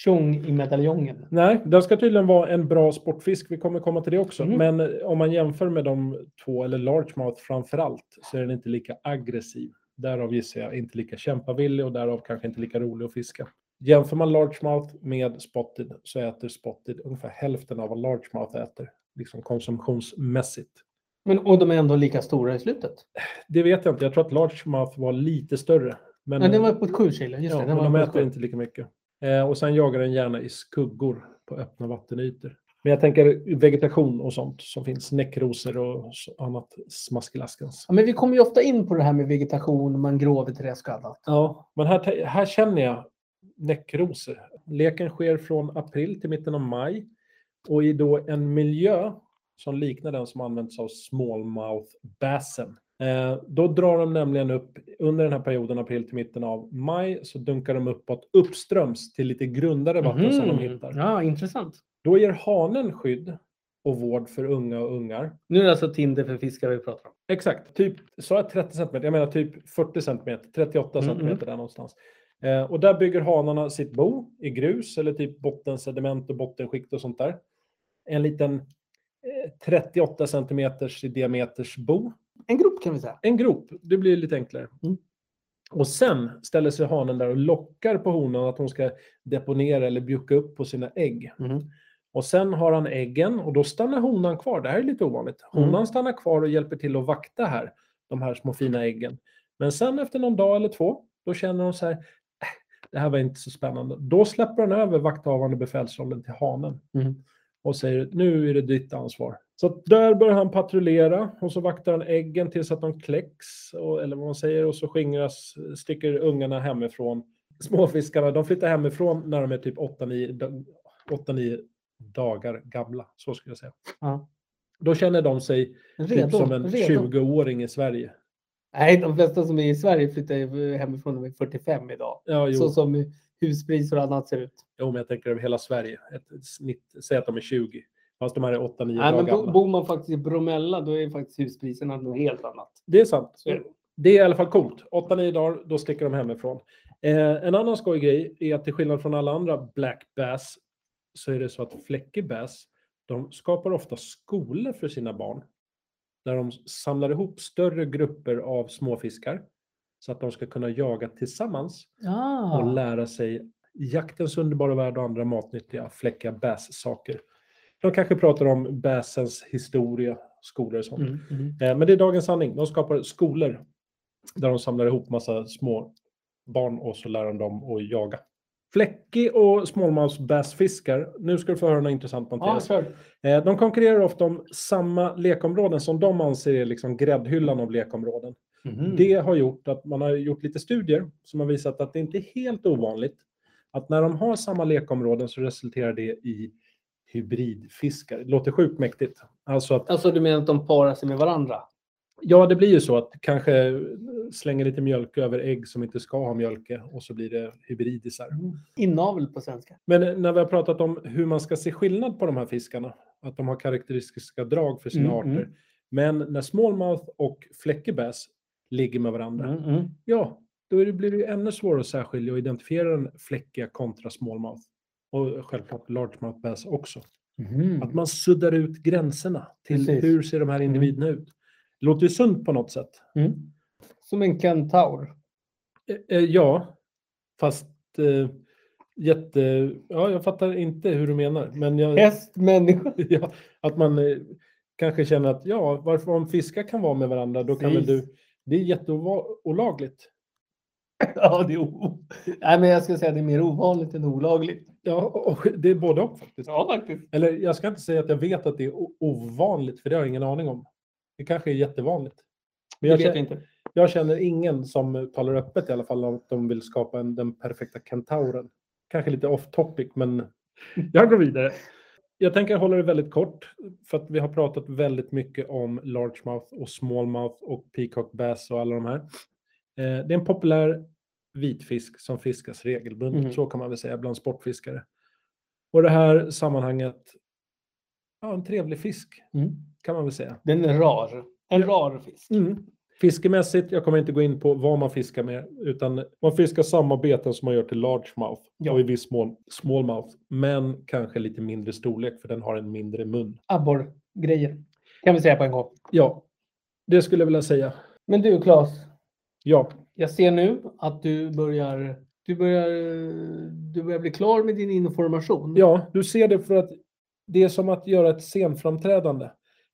S3: tjong i medaljongen.
S2: Nej, den ska tydligen vara en bra sportfisk, vi kommer komma till det också.
S3: Mm.
S2: Men eh, om man jämför med de två, eller largemouth framför allt, så är den inte lika aggressiv. Därav gissar jag inte lika kämpavillig och därav kanske inte lika rolig att fiska. Jämför man largemouth med spotted så äter spotted ungefär hälften av vad largemouth äter, liksom konsumtionsmässigt.
S3: Men, och de är ändå lika stora i slutet.
S2: Det vet jag inte. Jag tror att largemouth var lite större. Men,
S3: Nej, den var på 7 kilo. Just
S2: ja,
S3: det,
S2: men
S3: den
S2: de
S3: var på
S2: äter
S3: 7.
S2: inte lika mycket. Eh, och sen jagar den gärna i skuggor på öppna vattenytor. Men jag tänker vegetation och sånt som finns. Näckrosor och s- annat smaskelaskens.
S3: Ja, men vi kommer ju ofta in på det här med vegetation, mangrover, träsk och annat.
S2: Ja, men här, te- här känner jag näckrosor. Leken sker från april till mitten av maj. Och i då en miljö som liknar den som används av smallmouth bassen. Eh, då drar de nämligen upp, under den här perioden, april till mitten av maj, så dunkar de uppåt uppströms till lite grundare vatten som de
S3: Mhm.
S2: hittar.
S3: Ja, intressant.
S2: Då ger hanen skydd och vård för unga och ungar.
S3: Nu är det alltså Tinder för fiskar vi pratar om.
S2: Exakt, typ, sa jag 30 centimeter? Jag menar typ 40 centimeter, 38
S3: Mm,
S2: centimeter där någonstans. Eh, och där bygger hanarna sitt bo i grus eller typ bottensediment och bottenskikt och sånt där. En liten eh, 38 centimeters i diameters bo.
S3: En grop kan vi säga.
S2: En grop, det blir lite enklare.
S3: Mm.
S2: Och sen ställer sig hanen där och lockar på honan att hon ska deponera eller bjucka upp på sina ägg.
S3: Mhm.
S2: Och sen har han äggen och då stannar honan kvar. Det här är lite ovanligt. Honan
S3: Mm.
S2: stannar kvar och hjälper till att vakta här, de här små fina äggen. Men sen efter någon dag eller två, då känner hon så här, "Äh, det här var inte så spännande. Då släpper hon över vakthavande befälsrollen till hanen
S3: Mm.
S2: och säger, nu är det ditt ansvar. Så att där börjar han patrullera och så vaktar han äggen tills att de kläcks, och, eller vad man säger, och så skingras, sticker ungarna hemifrån. Småfiskarna, de flyttar hemifrån när de är typ 8-9 dagar gamla, så skulle jag säga.
S3: Ja.
S2: Då känner de sig
S3: Redo.
S2: typ som en
S3: redo.
S2: 20-åring i Sverige.
S3: Nej, de flesta som är i Sverige flyttar ju hemifrån när de är 45 idag.
S2: Ja, jo.
S3: Så som huspriser och annat ser ut.
S2: jo, men jag tänker över hela Sverige. Ett snitt, säg att de är 20, fast de här är 8-9
S3: Nej,
S2: dagar
S3: men bo,
S2: gamla.
S3: bor man faktiskt i Bromölla då är faktiskt huspriserna något helt annat.
S2: Det är sant.
S3: Så-
S2: Det är i alla fall coolt. 8-9 dagar, då sticker de hemifrån. Eh, en annan skoj grej är att till skillnad från alla andra black bass så är det så att fläckig bass, de skapar ofta skolor för sina barn. Där de samlar ihop större grupper av småfiskar så att de ska kunna jaga tillsammans
S3: Ah.
S2: och lära sig jaktens underbara värld och andra matnyttiga fläckiga bässaker. De kanske pratar om bäsens historia, skolor och sånt.
S3: Mm, mm.
S2: Eh, Men det är dagens sanning. De skapar skolor där de samlar ihop massa små barn och så lär de dem att jaga. Fläckig och småmalsbäsfiskar. Nu ska du få höra något intressant
S3: Ja,
S2: Mattias.
S3: kör.
S2: Eh, De konkurrerar ofta om samma lekområden som de anser är liksom gräddhyllan av lekområden.
S3: Mm.
S2: Det har gjort att man har gjort lite studier som har visat att det inte är helt ovanligt att när de har samma lekområden så resulterar det i hybridfiskar. Det låter sjukt mäktigt. Alltså att
S3: Alltså du menar att de parar sig med varandra?
S2: Ja, det blir ju så att kanske slänger lite mjölke över ägg som inte ska ha mjölke och så blir det hybridisar.
S3: Mm. Inavel på svenska.
S2: Men när vi har pratat om hur man ska se skillnad på de här fiskarna, att de har karaktäristiska drag för sina
S3: Mm,
S2: arter.
S3: mm.
S2: Men när smallmouth och fläckebäs ligger med varandra, ja, då är det, blir det ju ännu svårare att särskilja och identifiera den fläckiga kontra smallmouth. Och självklart largemouth bass också.
S3: Mm.
S2: Att man suddar ut gränserna till
S3: Precis.
S2: hur ser de här individerna ut. Det låter ju sunt på något sätt.
S3: Mm. Som en kentaur.
S2: Eh, eh, Ja, fast eh, jätte... Ja, jag fattar inte hur du menar. Men jag,
S3: Häst, människa.
S2: ja, att man eh, kanske känner att ja, varför om fiskar kan vara med varandra, då kan väl
S3: Precis.
S2: du... Det är jätteolagligt.
S3: Ja, det är o... Nej, men jag skulle säga att det är mer ovanligt än olagligt.
S2: Ja, och det är både och faktiskt.
S3: Ja, faktiskt.
S2: Eller jag ska inte säga att jag vet att det är o- ovanligt, för det har jag ingen aning om. Det kanske är jättevanligt. Men
S3: Det
S2: jag,
S3: vet jag
S2: kä-
S3: inte.
S2: jag känner ingen som talar öppet i alla fall om att de vill skapa en, den perfekta kentauren. Kanske lite off topic, men jag går vidare. Jag tänker hålla det väldigt kort, för att vi har pratat väldigt mycket om largemouth och smallmouth och peacock bass och alla de här. Eh, Det är en populär vitfisk som fiskas regelbundet,
S3: Mhm.
S2: så kan man väl säga, bland sportfiskare. Och det här sammanhanget, ja, en trevlig fisk
S3: Mm.
S2: kan man väl säga.
S3: Den är rar. Mm. En rar fisk.
S2: Mm. Fiskemässigt, jag kommer inte gå in på vad man fiskar med, utan man fiskar samma beten som man gör till largemouth
S3: Ja.
S2: och i viss mån smallmouth, men kanske lite mindre storlek för den har en mindre mun.
S3: Abborrgrejer. Kan vi säga på en gång.
S2: Ja, det skulle jag vilja säga.
S3: Men du Claes,
S2: Ja,
S3: jag ser nu att du börjar, du börjar, du börjar bli klar med din information.
S2: ja, du ser det för att det är som att göra ett scenframträdande.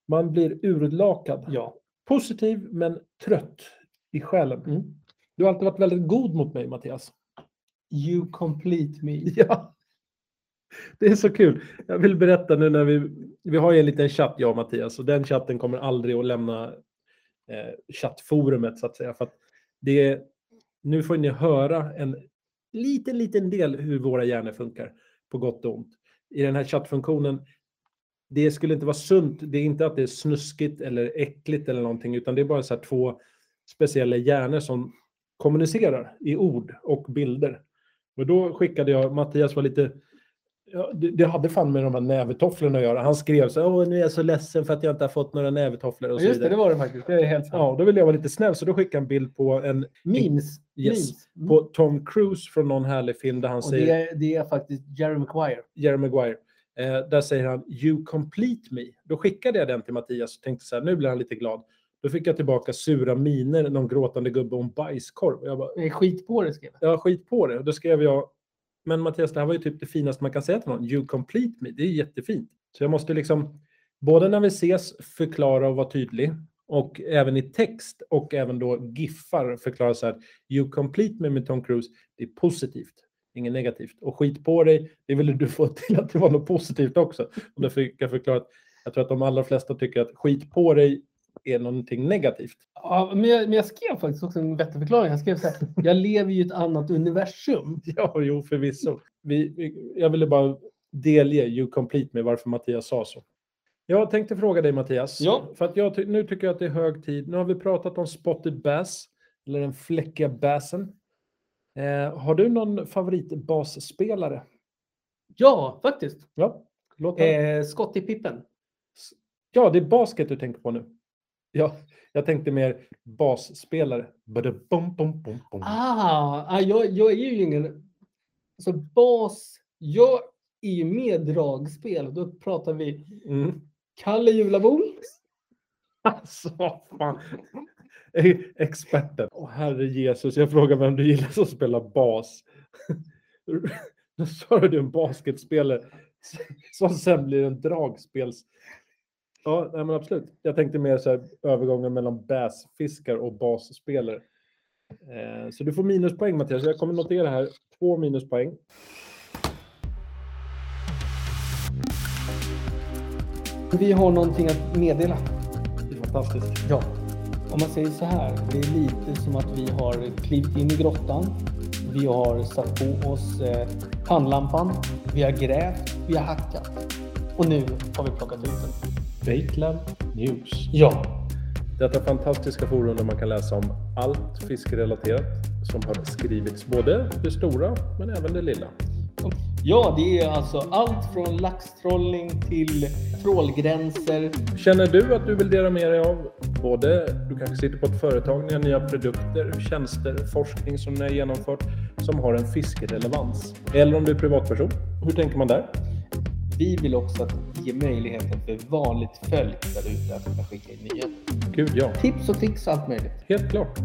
S2: Man blir urlakad.
S3: ja.
S2: Positiv men trött i själen.
S3: Mm.
S2: Du har alltid varit väldigt god mot mig, Mattias.
S3: You complete me.
S2: Ja. Det är så kul. Jag vill berätta nu när vi, vi har ju en liten chatt jag och Mattias och den chatten kommer aldrig att lämna eh, chattforumet så att säga. För att det är, nu får ni höra en liten, liten del hur våra hjärnor funkar på gott och ont. I den här chattfunktionen, det skulle inte vara sunt. Det är inte att det är snuskigt eller äckligt eller någonting utan det är bara så här två speciella hjärnor som kommunicerar i ord och bilder. Och då skickade jag, Mattias var lite, ja, det, det hade fan med de här nävetofflorna att göra. Han skrev så här, Åh, nu är jag så ledsen för att jag inte har fått några nävetofflor och
S3: Ja,
S2: så
S3: just
S2: vidare.
S3: det, det var det faktiskt. Det är helt sant.
S2: Ja, då ville jag vara lite snäll så då skickade jag en bild på, en,
S3: Memes.
S2: Yes.
S3: Memes. Mm.
S2: på Tom Cruise från någon härlig film där han
S3: Och
S2: säger,
S3: det, är, det är faktiskt Jerry Maguire.
S2: Jerry Maguire. Eh, där säger han “You complete me”. Då skickade jag den till Mattias och tänkte så här, nu blir han lite glad. Då fick jag tillbaka sura miner, någon gråtande gubbe och en bajskorv. Och jag bara,
S3: Det är skit på det skrev jag.
S2: ja skit på det. Och då skrev jag, men Mattias det här var ju typ det finaste man kan säga till någon. You complete me, det är jättefint. Så jag måste liksom, både när vi ses förklara och vara tydlig och även i text och även då giffar förklara så här. You complete me med Tom Cruise, det är positivt. Inget negativt. Och skit på dig, det ville du få till att det var något positivt också. Och då fick jag förklara att jag tror att de allra flesta tycker att skit på dig är någonting negativt.
S3: Ja, men, jag, men jag skrev faktiskt också en bättre förklaring. Jag skrev så här. Jag lever ju i ett annat universum.
S2: Ja, jo, förvisso. Vi, vi, jag ville bara delge You Complete med varför Mattias sa så. Jag tänkte fråga dig Mattias.
S3: Ja.
S2: För att jag ty- nu tycker jag att det är hög tid. Nu har vi pratat om Spotted Bass, eller den fläckiga bassen. Eh, har du någon favoritbasspelare?
S3: Ja, faktiskt.
S2: Ja. Låt höra.
S3: Eh, skott i pippen.
S2: ja, det är basket du tänker på nu. Ja, jag tänkte mer basspelare. Badabum, bum, bum, bum.
S3: Ah, ah, jag, jag är ju ingen... Alltså bas... Jag är ju med dragspel. Då pratar vi
S2: Mm.
S3: Kalle Julabom.
S2: Alltså, vad fan. Experten. Åh herre Jesus, jag frågar vem du gillar som spelar bas. Då sa du en basketspelare som sen blir en dragspels... Ja, nej, men absolut. Jag tänkte mer så här, övergången mellan basfiskar och basspelare. Eh, så du får minuspoäng Mattias. Jag kommer notera här två minuspoäng.
S3: Vi har någonting att meddela.
S2: Det är fantastiskt.
S3: Ja. Om man säger så här, det är lite som att vi har klivit in i grottan. Vi har satt på oss eh, pannlampan. Vi har grävt, vi har hackat. Och nu har vi plockat ut den.
S2: Batelab News.
S3: Ja.
S2: Detta fantastiska forum där man kan läsa om allt fiskerelaterat som har skrivits, både det stora men även det lilla.
S3: Ja, det är alltså allt från laxtrollning till trålgränser.
S2: Känner du att du vill dela med dig av både, du kanske sitter på ett företag, ni har nya produkter, tjänster, forskning som ni har genomfört som har en fiskerelevans? Eller om du är privatperson, hur tänker man där?
S3: Vi vill också att ge möjligheten för vanligt folk där ute att kunna skicka in nyheter.
S2: Gud ja,
S3: Tips och tricks och allt möjligt.
S2: helt klart.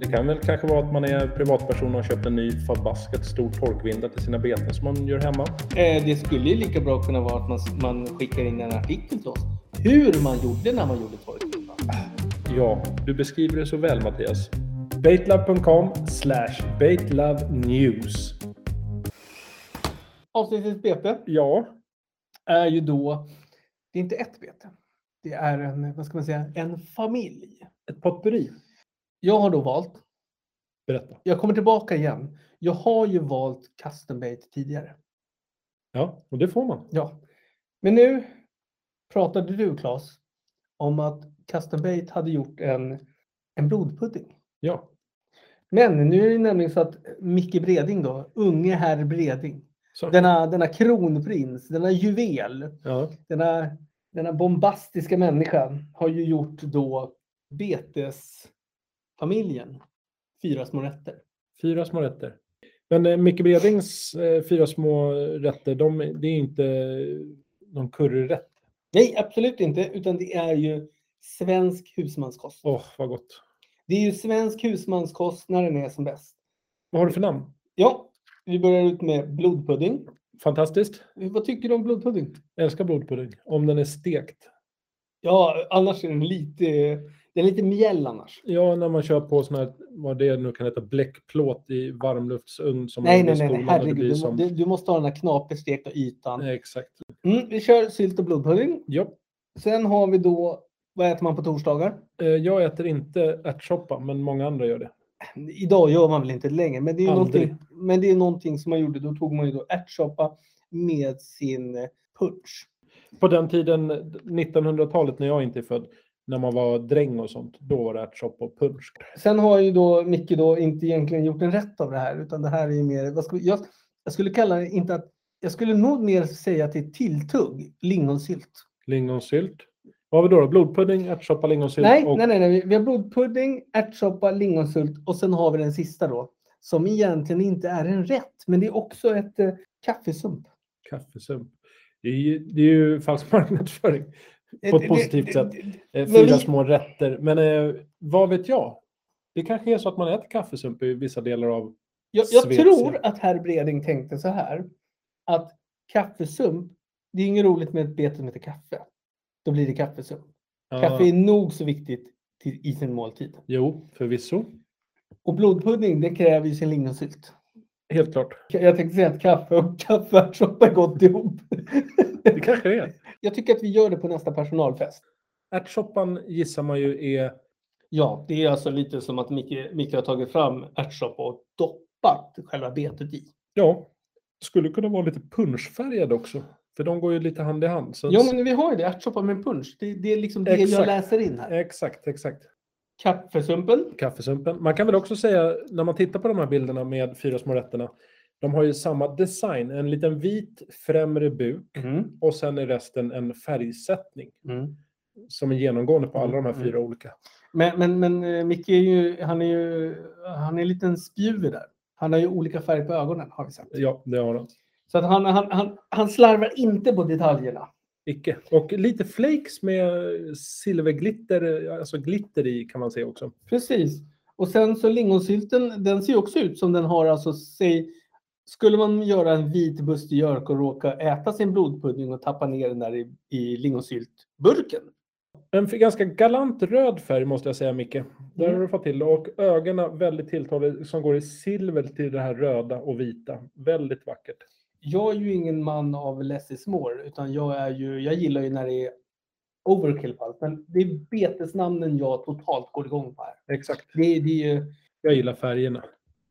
S2: Det kan väl kanske vara att man är privatperson och har köpt en ny förbaskat stor torkvinda till sina beten som man gör hemma.
S3: Eh, det skulle ju lika bra kunna vara att man, man skickar in en artikel till oss. Hur man gjorde när man gjorde torktumlaren.
S2: Ja, du beskriver det så väl Mattias. Baitlove.com slash baitlovenews.
S3: Avsnittets bete
S2: Ja,
S3: är ju då, det är inte ett bete. Det är en, vad ska man säga, en familj.
S2: ett potpurri.
S3: Jag har då valt,
S2: Berätta.
S3: jag kommer tillbaka igen. Jag har ju valt custom bait tidigare.
S2: Ja, och det får man.
S3: Ja. Men nu pratade du Claes om att Custom Bait hade gjort en, en blodpudding.
S2: Ja,
S3: Men nu är det nämligen så att Micke Breding då, unge herr Breding,
S2: så.
S3: denna, denna kronprins, denna juvel,
S2: Ja,
S3: denna, denna bombastiska människa har ju gjort då betesfamiljen fyra små rätter.
S2: fyra små rätter. Men eh, Micke Bredings eh, fyra små rätter, de, det är inte eh, någon curryrätt.
S3: Nej, absolut inte, utan det är ju svensk husmanskost.
S2: Åh, vad gott.
S3: Det är ju svensk husmanskost när den är som bäst.
S2: Vad har du för namn?
S3: Ja, vi börjar ut med blodpudding.
S2: Fantastiskt.
S3: Vad tycker du om blodpudding?
S2: Jag älskar blodpudding. Om den är stekt.
S3: Ja, annars är den lite, den är lite mjäll annars.
S2: Ja, när man kör på sån här, vad det nu kan heta, bläckplåt i varmluftsugn. Som
S3: Nej,
S2: man
S3: nej,
S2: blir
S3: nej, nej,
S2: skolad och det blir
S3: herregud. Du, må-
S2: som-
S3: du, du måste ha den här knapert stekta ytan.
S2: Nej, Exakt.
S3: Mm, vi kör sylt och blodpudding.
S2: Ja.
S3: Sen har vi då, vad äter man på torsdagar?
S2: Eh, Jag äter inte ärtsoppa, men många andra gör det.
S3: Idag gör man väl inte det längre, men det är ju
S2: Aldrig.
S3: någonting, men det är någonting som man gjorde. Då tog man ju då ärtsoppa med sin eh, punch.
S2: På den tiden, 1900-talet, när jag inte är född, när man var dräng och sånt, då var det ärtsoppa och punsch.
S3: Sen har ju då Micke då inte egentligen gjort en rätt av det här, utan det här är ju mer, vad skulle, jag, jag skulle kalla det inte att, jag skulle nog mer säga att det är tilltugg, lingonsylt.
S2: Lingonsylt. Vad var det då? Blodpudding, ärtsoppa, lingonsylt
S3: Nej,
S2: Typ, och
S3: nej, nej, nej, vi- vi har blodpudding, ärtsoppa, lingonsylt och sen har vi den sista då, som egentligen inte är en rätt, men det är också ett eh, kaffesump.
S2: kaffesump. Det är ju, det är ju falsk marknadsföring. På ett
S3: Det-
S2: positivt
S3: det-
S2: sätt.
S3: det-
S2: Eh,
S3: Men
S2: Fyra
S3: vi-
S2: små rätter. Men eh, vad vet jag? Det kanske är så att man äter kaffesump i vissa delar av...
S3: Jag, jag
S2: Svets, ja.
S3: tror att herr Breding tänkte så här, att kaffesump, det är inget roligt med ett bete som heter kaffe. Då blir det kaffesump.
S2: Ja,
S3: Kaffe är nog så viktigt till, i sin måltid.
S2: Jo, förvisso.
S3: Och blodpudding, det kräver ju sin lingonsylt.
S2: Helt klart.
S3: Jag tänkte säga att kaffe och kaffeärtsoppa är gott ihop.
S2: Det kanske det är.
S3: Jag tycker att vi gör det på nästa personalfest.
S2: Ärtsoppan gissar man ju är...
S3: Ja, det är alltså lite som att Micke, Micke har tagit fram ärtsoppa och doppat själva betet i.
S2: Ja, skulle kunna vara lite punschfärgad också. För de går ju lite hand i hand. Så
S3: Ja, men vi har ju det. Ärtsoppa med punsch. Det, det är liksom det jag
S2: Exakt.
S3: läser in här.
S2: Exakt, exakt.
S3: Kaffesumpen.
S2: Kaffesumpen. Man kan väl också säga, när man tittar på de här bilderna med fyra små rätterna, de har ju samma design. En liten vit främre buk
S3: Mm.
S2: och sen är resten en färgsättning
S3: Mm.
S2: som är genomgående på alla de här
S3: Mm.
S2: fyra olika.
S3: Men, men, men eh, Micke är ju, han är ju, han är en liten spjuver där. Han har ju olika färg på ögonen har vi sett.
S2: Ja, det har de.
S3: Så att han, han, han, han slarvar inte på detaljerna.
S2: Icke. Och lite flakes med silverglitter, alltså glitter i kan man se också.
S3: Precis. Och sen så lingonsylten, den ser ju också ut som den har alltså, säg, skulle man göra en vit bustejörk och råka äta sin blodpudding och tappa ner den där i, i lingonsyltburken.
S2: En för- ganska galant röd färg måste jag säga Micke. Där
S3: Mm.
S2: har du fått till det. Och ögonen väldigt tilltalande som går i silver till det här röda och vita. Väldigt vackert.
S3: Jag är ju ingen man av less is more, utan jag, är ju, jag gillar ju när det är overkill på allt. Men det är betesnamnen jag totalt går igång på här.
S2: Exakt.
S3: Det, det är ju,
S2: Jag gillar färgerna.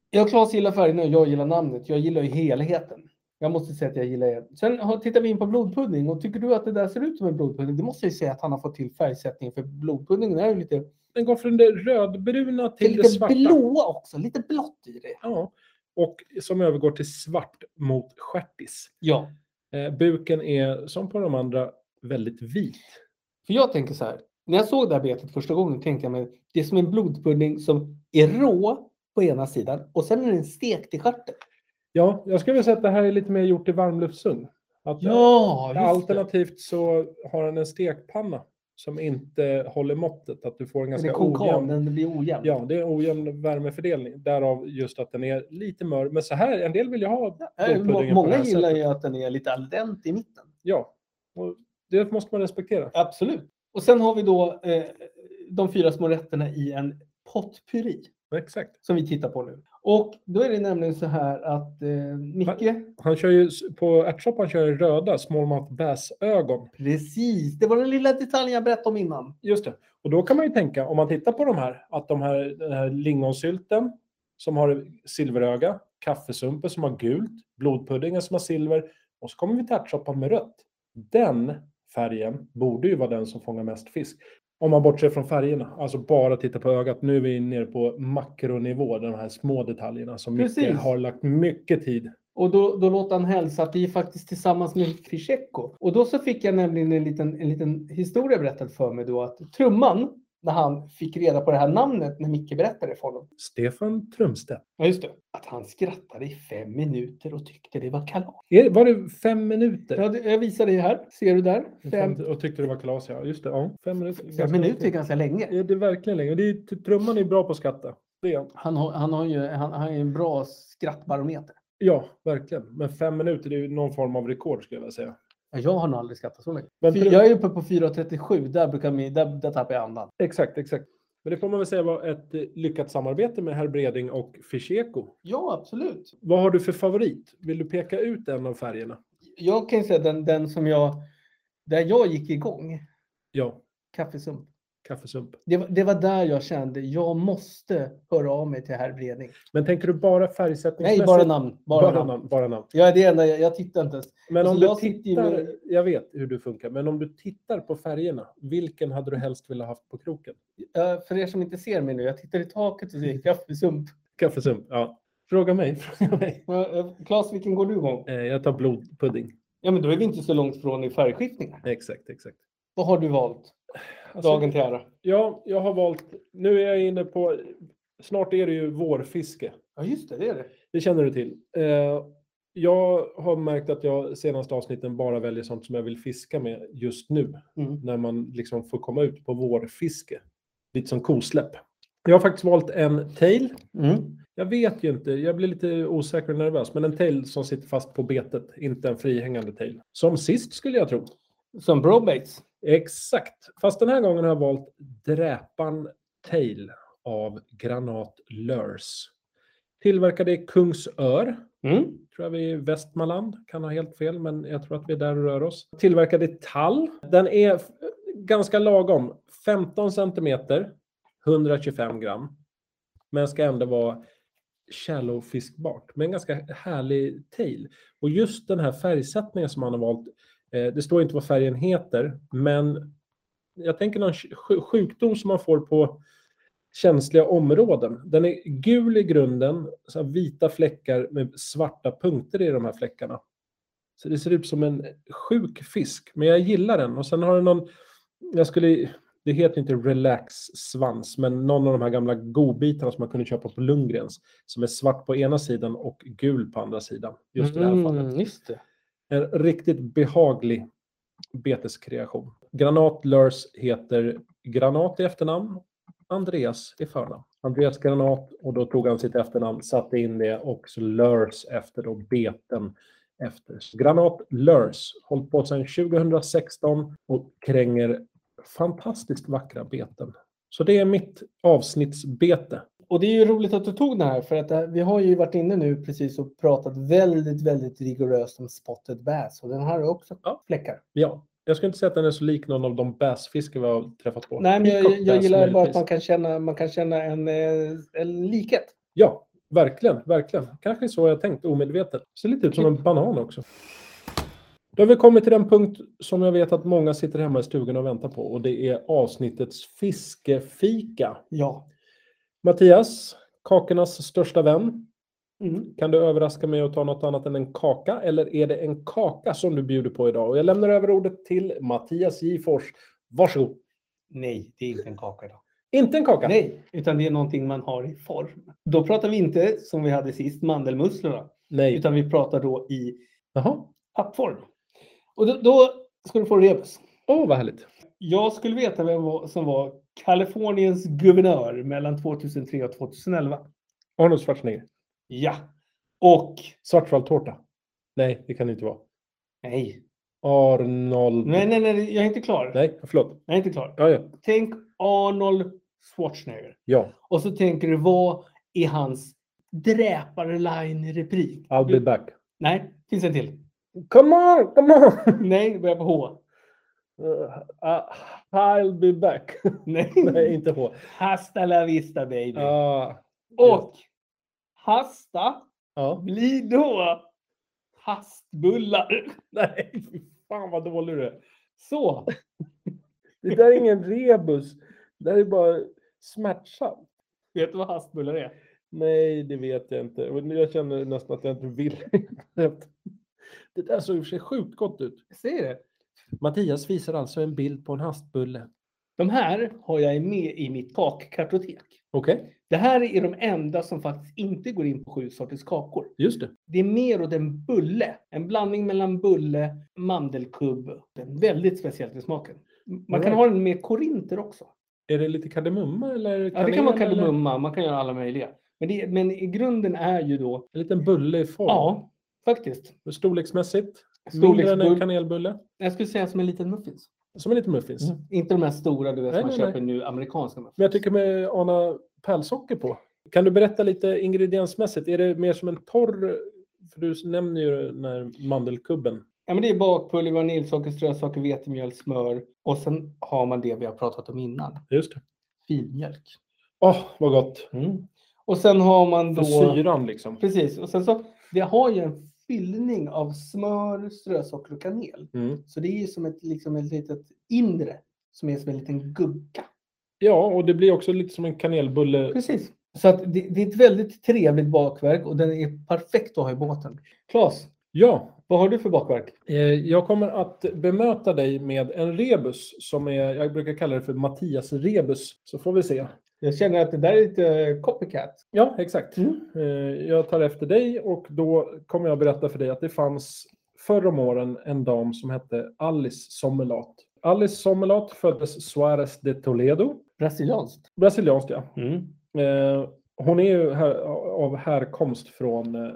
S3: jag och Claes gillar färgerna och jag gillar namnet. Jag gillar ju helheten. Jag måste säga att jag gillar det. Sen har- tittar vi in på blodpudding och tycker du att det där ser ut som en blodpudding? Det måste jag ju säga att han har fått till färgsättningen för blodpuddingen är ju lite,
S2: Den går från det rödbruna
S3: det är
S2: till det
S3: lite
S2: svarta.
S3: blåa också, lite blått i det.
S2: Ja. Och som övergår till svart mot stjärtis.
S3: Ja,
S2: Eh, buken är som på de andra väldigt vit.
S3: för jag tänker så här. När jag såg det här betet första gången tänkte jag mig det är som en blodpudding som är rå på ena sidan och sen är den stekt i stjärten.
S2: Ja, jag skulle vilja säga att det här är lite mer gjort i varmluftsugn. Att,
S3: Ja, just det.
S2: Alternativt så har den en stekpanna som inte håller måttet. Att du får en
S3: Den är
S2: ganska
S3: konkav,
S2: ojämn,
S3: den blir ojämn.
S2: ja, det är en ojämn värmefördelning. Därav just att den är lite mör. Men så här, en del vill ju ha
S3: Äh,
S2: blodpuddingen på det här
S3: Många gillar
S2: sättet.
S3: ju att den är lite al dente i mitten.
S2: Ja, och det måste man respektera.
S3: Absolut. Och sen har vi då eh, de fyra små rätterna i en potpurri
S2: Exakt.
S3: som vi tittar på nu. Och då är det nämligen så här att eh, Micke,
S2: Han kör ju s- på ärtsoppan kör han röda smallmouth bass-ögon.
S3: precis, det var den lilla detaljen jag berättade om innan.
S2: Just det. Och då kan man ju tänka, om man tittar på de här, att de här, den här lingonsylten som har silveröga, kaffesumpen som har gult, blodpuddingen som har silver och så kommer vi till ärtsoppan med rött. Den färgen borde ju vara den som fångar mest fisk. Om man bortser från färgerna, alltså bara titta på ögat. Nu är vi nere på makronivå, de här små detaljerna som Micke
S3: Precis.
S2: har lagt mycket tid.
S3: Och då, då låter han hälsa att vi är faktiskt tillsammans med Fischecko. Och då så fick jag nämligen en liten, en liten historia berättad för mig då att trumman, när han fick reda på det här namnet när Micke berättade för honom,
S2: Stefan Trumstedt.
S3: ja just det, att han skrattade i fem minuter och tyckte det var kalas.
S2: Är- Var det fem minuter?
S3: Ja, det- Jag visar dig här, ser du där? Fem,
S2: Och tyckte det var kalas, ja. Just det, ja. Fem minuter.
S3: Fem
S2: Ganska
S3: minuter är
S2: lång
S3: ganska länge.
S2: Ja, det är verkligen länge. Och Det är, t- trumman är bra på att skratta. Det är han.
S3: Han har, han har ju han, han är en bra skrattbarometer.
S2: Ja, verkligen. Men fem minuter det är ju någon form av rekord skulle jag vilja säga.
S3: Ja, Jag har nog aldrig skrattat så länge.
S2: Men
S3: Fy-
S2: trum-
S3: jag är uppe på 4.37. Där, brukar min, där, där tappar jag andan.
S2: Exakt, exakt. Men det får man väl säga var ett eh, lyckat samarbete med herr Breding och Fischeko.
S3: Ja, absolut.
S2: Vad har du för favorit? Vill du peka ut en av färgerna?
S3: Jag kan ju säga den, den som jag... Där jag gick igång,
S2: Ja,
S3: kaffesump.
S2: kaffesump.
S3: Det var, det var där jag kände, jag måste höra av mig till herr Bredning.
S2: Men tänker du bara färgsättningsmässigt?
S3: Nej, bara namn. Bara,
S2: Bara
S3: namn.
S2: namn, bara namn.
S3: Jag är det enda, jag, jag tittar inte ens.
S2: Men
S3: Alltså,
S2: om du
S3: jag sitter ju
S2: tittar,
S3: med-
S2: jag vet hur du funkar, men om du tittar på färgerna, vilken hade du helst velat haft på kroken?
S3: Eh, För er som inte ser mig nu, jag tittar i taket och ser kaffesump.
S2: Kaffesump, ja. Fråga mig, fråga mig.
S3: Eh, eh, Claes, vilken går du igång?
S2: Eh, Jag tar blodpudding.
S3: Ja, men då är vi inte så långt från i färgskiftningar.
S2: Exakt, exakt.
S3: Vad har du valt?
S2: Alltså,
S3: Dagen till ära.
S2: Ja, jag har valt, nu är jag inne på, snart är det ju vårfiske.
S3: Ja, just det, det är det.
S2: Det känner du till. Eh, jag har märkt att jag senaste avsnitten bara väljer sånt som jag vill fiska med just nu.
S3: Mm.
S2: När man liksom får komma ut på vårfiske. Lite som kosläpp. Jag har faktiskt valt en tail.
S3: Mm.
S2: Jag vet ju inte, jag blir lite osäker och nervös. Men en tail som sitter fast på betet, inte en frihängande tail. Som sist skulle jag tro.
S3: Som brobates.
S2: Exakt. Fast den här gången har jag valt Dräpan Tail av Granat Lurs. Tillverkade i Kungsör.
S3: Mm.
S2: Tror jag vi är i Västmanland. Kan ha helt fel, men jag tror att vi är där och rör oss. Tillverkad i tall. Den är f- ganska lagom. 15 centimeter, 125 gram. Men ska ändå vara shallow fiskbart. Men ganska härlig tail. Och just den här färgsättningen som han har valt. eh, Det står inte vad färgen heter, men jag tänker någon sj- sjukdom som man får på känsliga områden. Den är gul i grunden, så här vita fläckar med svarta punkter i de här fläckarna. Så det ser ut som en sjuk fisk, men jag gillar den. Och sen har den någon, jag skulle, det heter inte relax-svans, men någon av de här gamla godbitarna som man kunde köpa på Lundgrens, som är svart på ena sidan och gul på andra sidan. Just i det här fallet.
S3: Mm, just det.
S2: En riktigt behaglig beteskreation. Granat Lörs heter Granat i efternamn, Andreas i förnamn. Andreas Granat och då tog han sitt efternamn, satte in det och så Lörs efter då beten efter. Så Granat Lörs, hållit på sedan 2016 och kränger fantastiskt vackra beten. Så det är mitt avsnittsbete.
S3: Och det är ju roligt att du tog den här för att eh, vi har ju varit inne nu precis och pratat väldigt, väldigt rigoröst om spotted bass och den här har också
S2: Ja.
S3: fläckar.
S2: Ja, jag skulle inte säga att den är så lik någon av de bassfiskar vi har träffat på.
S3: Nej, men jag, jag,
S2: Peacock bass
S3: jag gillar bara att
S2: möjligtvis.
S3: man kan känna, man kan känna en, eh, en likhet.
S2: Ja, verkligen, verkligen. Kanske så jag tänkt omedvetet. Ser lite ut som en banan också. Då har vi kommit till den punkt som jag vet att många sitter hemma i stugan och väntar på och det är avsnittets fiskefika.
S3: Ja.
S2: Mattias, kakornas största vän.
S3: Mm.
S2: Kan du överraska mig och ta något annat än en kaka? Eller är det en kaka som du bjuder på idag? Och jag lämnar över ordet till Mattias J. Fors. Varsågod.
S3: Nej, det är inte en kaka idag.
S2: Inte en kaka.
S3: Nej, utan det är någonting man har i form. Då pratar vi inte, som vi hade sist, mandelmusslorna.
S2: Nej.
S3: Utan vi pratar då i
S2: Jaha.
S3: pappform. Och då, då ska du få rebus.
S2: Åh, vad härligt.
S3: Jag skulle veta vem var- som var Kaliforniens guvernör mellan 2003 och 2011.
S2: Arnold Schwarzenegger.
S3: Ja. Och...
S2: Svartfalltårta. Nej, det kan det inte vara.
S3: Nej.
S2: Arnold...
S3: Nej, nej, nej. Jag är inte klar.
S2: Nej, förlåt.
S3: Jag är inte klar.
S2: Ja, ja.
S3: Tänk Arnold Schwarzenegger.
S2: ja.
S3: Och så tänker du, vad är hans dräpare-line-replik?
S2: I'll be back.
S3: Nej, finns en till.
S2: Come on, come on!
S3: Nej, det börjar på H.
S2: Uh, uh, I'll be back.
S3: Nej.
S2: Nej, inte H.
S3: Hasta la vista baby.
S2: Ah,
S3: Och hasta
S2: ja.
S3: blir då hastbullar.
S2: Nej, fy fan vad dålig du är.
S3: Så.
S2: Det där är ingen rebus. Det där är bara smärtsamt.
S3: Vet du vad hastbullar är?
S2: Nej, det vet jag inte. Och nu- Jag känner nästan att jag inte vill. Det där såg i och för sig sjukt gott ut.
S3: Jag säger det.
S2: Mattias visar alltså en bild på en hastbulle.
S3: De här har jag med i mitt kakkartotek.
S2: Okej,
S3: Det här är de enda som faktiskt inte går in på sju sorters kakor.
S2: just det.
S3: Det är mer åt en bulle. En blandning mellan bulle, mandelkubb. Det är Väldigt speciellt i smaken. Man kan
S2: Alright.
S3: ha den med korinter också.
S2: Är det lite kardemumma eller?
S3: Ja, det kan man
S2: kanel eller
S3: kardemumma, man kan göra alla möjliga. Men, det, men i grunden är ju då,
S2: En liten bulle i form.
S3: ja, faktiskt.
S2: Storleksmässigt. Mindre än en
S3: Storleksbull.
S2: kanelbulle.
S3: Jag skulle säga som en liten muffins.
S2: Som en liten muffins.
S3: Inte de här stora du vet,
S2: Mm. Nej,
S3: som man
S2: nej,
S3: köper nu, amerikanska muffins.
S2: Men jag tycker mig ana pärlsocker på. Kan du berätta lite ingrediensmässigt? Är det mer som en torr... För du nämner ju den här mandelkubben.
S3: Ja, men det är bakpulver, vaniljsocker, strösocker, vetemjöl, smör. Och sen har man det vi har pratat om innan,
S2: Just det.
S3: filmjölk.
S2: Åh, vad gott.
S3: Och sen har man
S2: För
S3: då...
S2: syran liksom.
S3: Precis. Och sen så, det har ju en fyllning av smör, strösocker och kanel.
S2: Mm.
S3: Så det är ju som ett, liksom ett litet inre som är som en liten gugga.
S2: Ja, och det blir också lite som en kanelbulle.
S3: Precis. Så att det, det är ett väldigt trevligt bakverk och den är perfekt att ha i båten. Claes,
S2: Ja,
S3: vad har du för bakverk?
S2: Eh, Jag kommer att bemöta dig med en rebus som är, jag brukar kalla det för Mattias rebus, så får vi se.
S3: Jag känner att det där är lite copycat.
S2: Ja, exakt.
S3: Mm.
S2: Eh, Jag tar efter dig och då kommer jag berätta för dig att det fanns förr om åren en dam som hette Alice Sommerlath. Alice Sommerlath föddes Suarez de Toledo,
S3: Brasilianskt.
S2: brasiliansk ja.
S3: Mm.
S2: Eh, Hon är ju här, av härkomst från eh,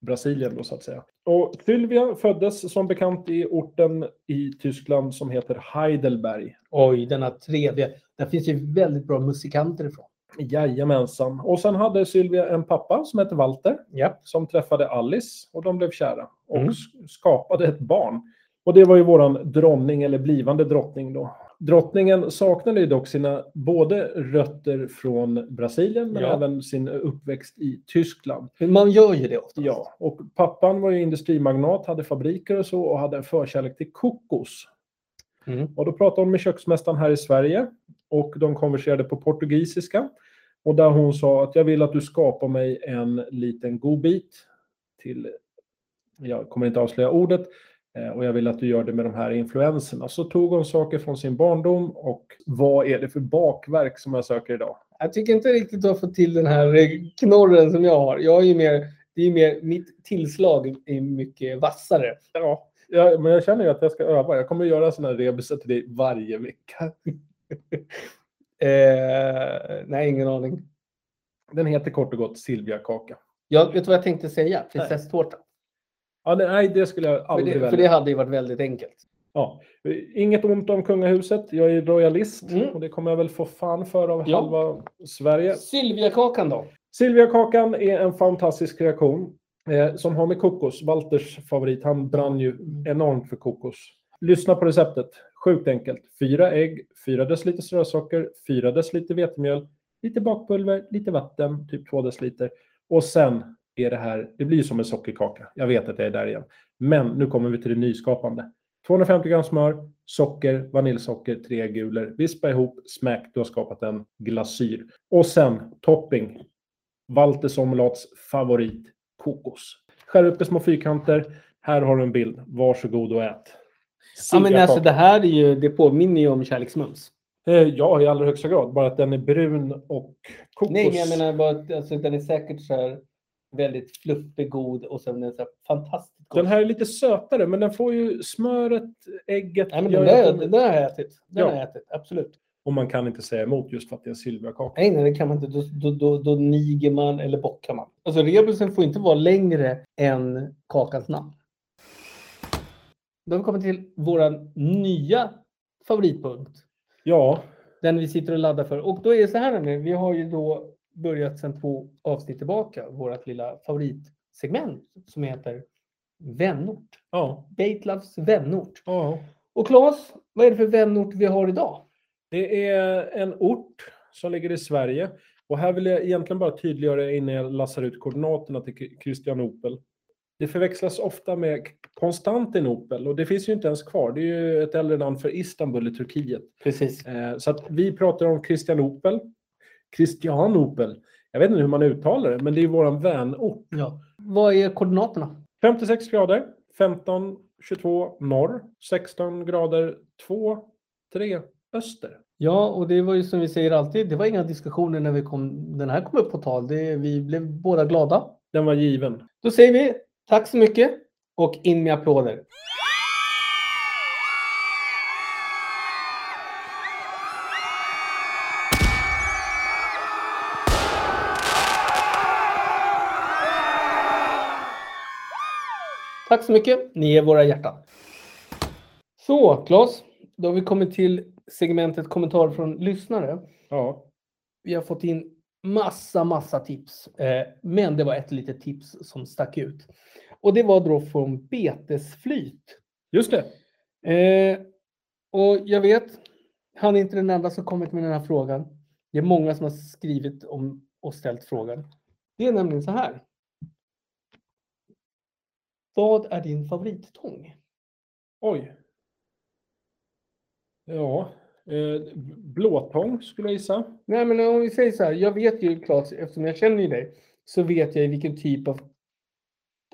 S2: Brasilien då så att säga. Och Sylvia föddes som bekant i orten i Tyskland som heter Heidelberg.
S3: Oj, denna trevliga. Där finns ju väldigt bra musikanter ifrån.
S2: Jajamensan. Och sen hade Sylvia en pappa som hette Walter
S3: Ja.
S2: som träffade Alice och de blev kära och
S3: Mm.
S2: s- skapade ett barn. Och det var ju våran dronning eller blivande drottning då. Drottningen saknade ju dock sina både rötter från Brasilien men
S3: Ja.
S2: även sin uppväxt i Tyskland.
S3: Man gör ju det ofta.
S2: Ja, och pappan var ju industrimagnat, hade fabriker och så och hade en förkärlek till kokos.
S3: Mm.
S2: Och då pratade hon med köksmästaren här i Sverige och de konverserade på portugisiska. Och där hon sa att jag vill att du skapar mig en liten godbit till, jag kommer inte avslöja ordet, eh, och jag vill att du gör det med de här influenserna. Så tog hon saker från sin barndom och vad är det för bakverk som jag söker idag?
S3: Jag tycker inte riktigt du har fått till den här eh, knorren som jag har. Jag är ju mer, det är ju mer, mitt tillslag är mycket vassare. Ja.
S2: Ja, men jag känner ju att jag ska öva. Jag kommer att göra sådana här rebusar till dig varje vecka.
S3: Eh, nej, ingen aning.
S2: Den heter kort och gott Silviakaka.
S3: Jag vet du vad jag tänkte säga?
S2: Nej.
S3: Prinsesstårta.
S2: Ja, nej, nej, det skulle jag
S3: För
S2: aldrig
S3: det, för
S2: välja.
S3: det hade ju varit väldigt enkelt.
S2: Ja. Inget ont om kungahuset. Jag är royalist
S3: Mm.
S2: och det kommer jag väl få fan för av
S3: Ja.
S2: halva Sverige.
S3: Sylviakakan då?
S2: Silviakakan är en fantastisk reaktion eh, som har med kokos. Walters favorit, han brann ju
S3: Mm.
S2: enormt för kokos. Lyssna på receptet. Sjukt enkelt. Fyra ägg, fyra deciliter strösocker, fyra deciliter vetemjöl, lite bakpulver, lite vatten, typ två deciliter. Och sen är det här, det blir ju som en sockerkaka. Jag vet att jag är där igen. Men nu kommer vi till det nyskapande. 250 gram smör, socker, vaniljsocker, tre gulor. Vispa ihop, smäck, du har skapat en glasyr. Och sen topping, Walter Sommerlats favorit, kokos. Skär upp i små fyrkanter. Här har du en bild. Varsågod och ät.
S3: Ja, men alltså,
S2: Siljakaka.
S3: det här är ju, det påminner ju om kärleksmums.
S2: Eh, Ja, i allra högsta grad. Bara att den är brun och kokos.
S3: Nej, men jag menar bara att alltså, den är säkert så här väldigt fluffig, god och sen är den så här fantastiskt god.
S2: Den här är lite sötare, men den får ju smöret, ägget.
S3: Nej, men
S2: gör
S3: den, där,
S2: att den-
S3: den där har jag ätit. Den
S2: Ja.
S3: har jag ätit, absolut.
S2: Och man kan inte säga emot just för att det är en silverkaka.
S3: Nej, nej, det kan man inte. Då, då, då, då niger man eller bockar man. Alltså rebusen får inte vara längre än kakans namn. Då har vi kommit till vår nya favoritpunkt.
S2: Ja,
S3: Den vi sitter och laddar för. Och då är det så här nu. Vi har ju då börjat sedan två avsnitt tillbaka. Vårt lilla favoritsegment som heter Vänort.
S2: ja,
S3: Batelavs vänort.
S2: ja.
S3: Och Claes, vad är det för vänort vi har idag?
S2: Det är en ort som ligger i Sverige. Och här vill jag egentligen bara tydliggöra innan jag lassar ut koordinaterna till K- Kristianopel. Det förväxlas ofta med K- Konstantinopel och det finns ju inte ens kvar. Det är ju ett äldre namn för Istanbul i Turkiet.
S3: Precis.
S2: Eh, Så att vi pratar om Kristianopel. Kristianopel. Jag vet inte hur man uttalar det, men det är våran vänort.
S3: Ja. Vad är koordinaterna?
S2: 56 grader, 15, 22 norr, 16 grader, 2, 3 öster.
S3: Ja, och det var ju som vi säger alltid, det var inga diskussioner när vi kom, den här kom upp på tal. Det, vi blev båda glada.
S2: Den var given.
S3: Då säger vi tack så mycket och in med applåder. Tack så mycket. Ni är våra hjärtan. Så, Claes. Då har vi kommit till segmentet kommentarer från lyssnare.
S2: Ja,
S3: Vi har fått in massa, massa tips. Eh, men det var ett litet tips som stack ut. Och det var då från Betesflyt.
S2: just det.
S3: Eh, och jag vet, han är inte den enda som kommit med den här frågan. Det är många som har skrivit om och ställt frågan. Det är nämligen så här. Vad är din favorittång?
S2: Oj. Ja, eh, blåtång skulle jag gissa.
S3: Nej, men om vi säger så här. Jag vet ju klart, eftersom jag känner ju dig, så vet jag ju vilken typ av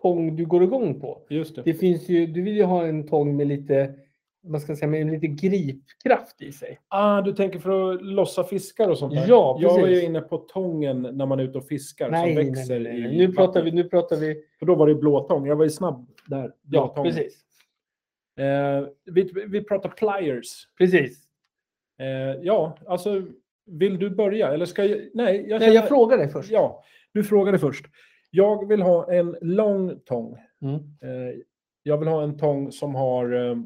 S3: tång du går igång på.
S2: Just det.
S3: Det finns ju, du vill ju ha en tång med lite, vad ska jag säga, med lite gripkraft i sig.
S2: Ah, du tänker för att lossa fiskar och sånt där?
S3: Ja,
S2: Jag var
S3: precis.
S2: ju inne på tången när man är ute och fiskar
S3: Nej,
S2: som
S3: nej,
S2: växer
S3: nej, nej,
S2: i
S3: nej. Nu pratar
S2: vattnet.
S3: vi, nu pratar vi,
S2: För då var det blåtång. Jag var ju snabb där.
S3: ja
S2: Blåtång.
S3: precis.
S2: Eh, vi, vi pratar pliers.
S3: Precis.
S2: Eh, ja, alltså vill du börja? Eller ska jag? Nej, jag,
S3: Nej, jag
S2: känner-
S3: frågar dig först.
S2: Ja, du frågade först. Jag vill ha en lång tång.
S3: Mm.
S2: Eh, jag vill ha en tång som har eh,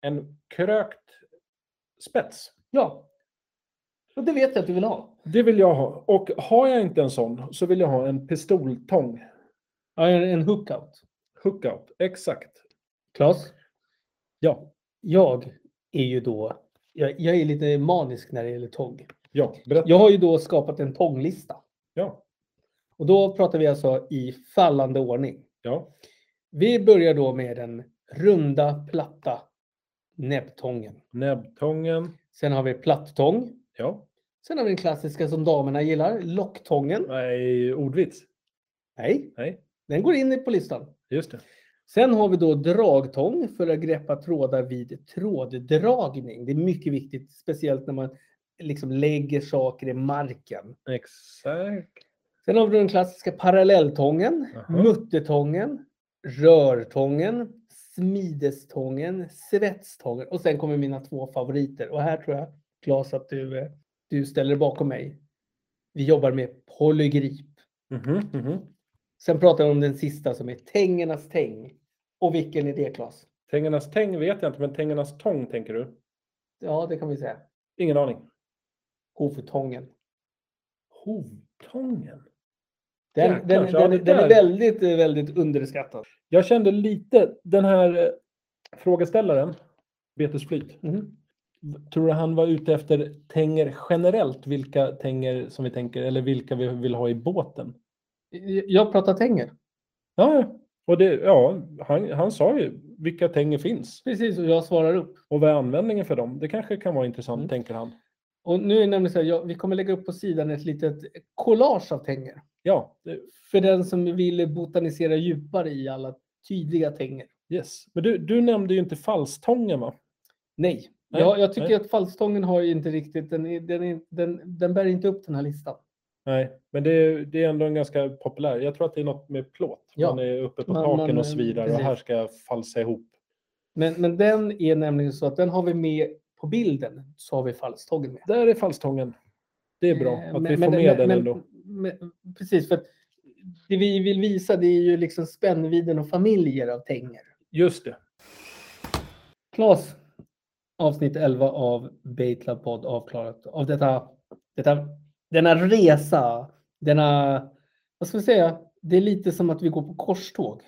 S2: en krökt spets.
S3: Ja. Och det vet jag att du vill ha.
S2: Det vill jag ha. Och har jag inte en sån så vill jag ha en pistoltång.
S3: Ja, en, en hookout.
S2: Hookout. Exakt.
S3: Klas?
S2: Ja,
S3: Jag är ju då, jag, jag är lite manisk när det gäller tång.
S2: ja. Berätta.
S3: Jag har ju då skapat en tånglista.
S2: Ja,
S3: Och då pratar vi alltså i fallande ordning.
S2: ja.
S3: Vi börjar då med den runda, platta näbbtången.
S2: Näbbtången.
S3: Sen har vi plattång.
S2: Ja.
S3: Sen har vi den klassiska som damerna gillar, locktången.
S2: Nej, ordvits.
S3: Nej,
S2: Nej,
S3: den går in på listan.
S2: just det.
S3: Sen har vi då dragtång för att greppa trådar vid tråddragning. Det är mycket viktigt, speciellt när man liksom lägger saker i marken.
S2: Exakt.
S3: Sen har vi den klassiska parallelltången,
S2: Jaha.
S3: muttertången, rörtången, smidestången, svetstången och sen kommer mina två favoriter. Och här tror jag, Claes, att du, eh, du ställer dig bakom mig. Vi jobbar med polygrip.
S2: Mhm, mhm.
S3: Sen pratar jag om den sista som är tängernas täng. Och vilken är det, Claes?
S2: Tängernas täng vet jag inte, men tängernas tång tänker du?
S3: Ja, det kan vi säga.
S2: Ingen aning.
S3: Hovtången.
S2: Hovtången?
S3: Den,
S2: Jäklar,
S3: den,
S2: så ja,
S3: den,
S2: det
S3: den är
S2: där-
S3: väldigt, eh, väldigt underskattad.
S2: Jag kände lite den här eh, frågeställaren, Betus Flyt.
S3: Mhm.
S2: Tror du han var ute efter tänger generellt? Vilka tänger som vi tänker eller vilka vi vill ha i båten?
S3: Jag pratar tänger.
S2: Ja, ja. och det, ja han, han sa ju vilka tänger finns
S3: Precis, och jag svarar upp.
S2: och vad är användningen för dem? Det kanske kan vara intressant,
S3: Mm.
S2: tänker han.
S3: Och nu är det nämligen så här, jag, vi kommer lägga upp på sidan ett litet collage av tänger.
S2: Ja, det,
S3: För den som vill botanisera djupare i alla tydliga tänger.
S2: yes. Men du, du nämnde ju inte falstången va?
S3: Nej,
S2: Nej,
S3: jag, jag tycker
S2: nej.
S3: att falstången har ju inte riktigt, den, är- den, är- den, den bär inte upp den här listan.
S2: Nej, men det, är- det är ändå en ganska populär. Jag tror att det är något med plåt.
S3: Ja.
S2: Man är uppe på
S3: Man-
S2: taken
S3: man-
S2: och svirar och
S3: precis.
S2: här ska jag falsa ihop.
S3: Men, men den är nämligen så att den har vi med på bilden, så har vi falstången med.
S2: Där är falstången. Det är bra
S3: Eh,
S2: att
S3: men-
S2: vi
S3: men-
S2: får med
S3: men-
S2: den
S3: men-
S2: ändå.
S3: men- precis, för att det vi vill visa det är ju liksom spännvidden och familjer av tänger.
S2: Just det.
S3: Klas, avsnitt 11 av Baitlab podd avklarat. Av detta, detta, denna resa, denna, vad ska vi säga, det är lite som att vi går på korståg.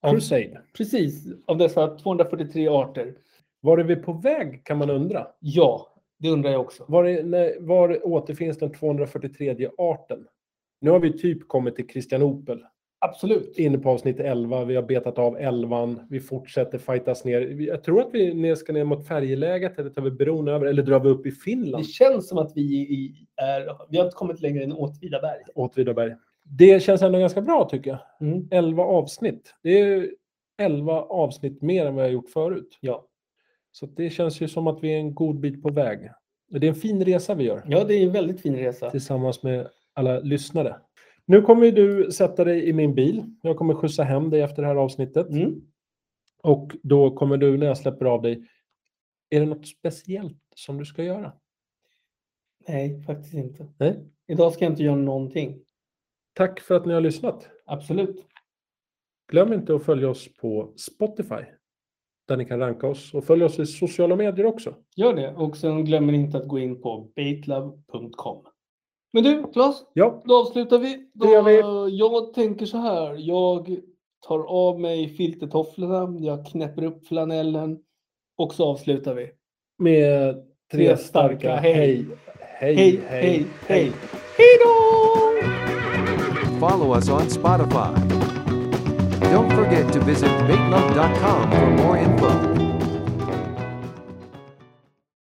S3: Av-
S2: Crusade.
S3: Precis, av dessa 243 arter.
S2: Var är vi på väg kan man undra.
S3: Ja, det undrar jag också.
S2: Var, är, nej, var återfinns den 243 arten? Nu har vi typ kommit till Kristianopel.
S3: Absolut.
S2: Inne på avsnitt 11. Vi har betat av 11. Vi fortsätter fightas ner. Vi- Jag tror att vi ner ska ner mot färjeläget eller tar vi bron över eller drar vi upp i
S3: Det
S2: Finland?
S3: känns som att vi, i- är, vi har inte kommit längre än Åtvidaberg.
S2: Åtvidaberg. Det känns ändå ganska bra tycker jag.
S3: Mm.
S2: 11 avsnitt. Det är ju 11 avsnitt mer än vad jag gjort förut.
S3: Ja.
S2: Så det känns ju som att vi är en god bit på väg. Och Det är en fin resa vi gör
S3: ja, det är en väldigt fin resa.
S2: tillsammans med alla lyssnare. Nu kommer ju du sätta dig i min bil. Jag kommer skjutsa hem dig efter det här avsnittet.
S3: Mm.
S2: Och då kommer du, när jag släpper av dig, är det något speciellt som du ska göra?
S3: Nej, faktiskt inte.
S2: Nej.
S3: Idag ska jag inte göra någonting.
S2: Tack för att ni har lyssnat.
S3: Absolut.
S2: Glöm inte att följa oss på Spotify, där ni kan ranka oss. Och följ oss i sociala medier också.
S3: Gör det och sen glömmer ni inte att gå in på baitlove.com. Men du, Claes,
S2: Ja,
S3: då avslutar vi. Då, eh,
S2: Det gör
S3: Jag tänker så här. Jag tar av mig filtertofflorna, jag knäpper upp flanellen och så avslutar vi.
S2: med tre,
S3: Tre starka
S2: starka,
S3: hej.
S2: Hej,
S3: Hej, hej, hej!
S2: Hej då!
S1: Follow us on Spotify. Don't forget to visit baitlove.com for more info.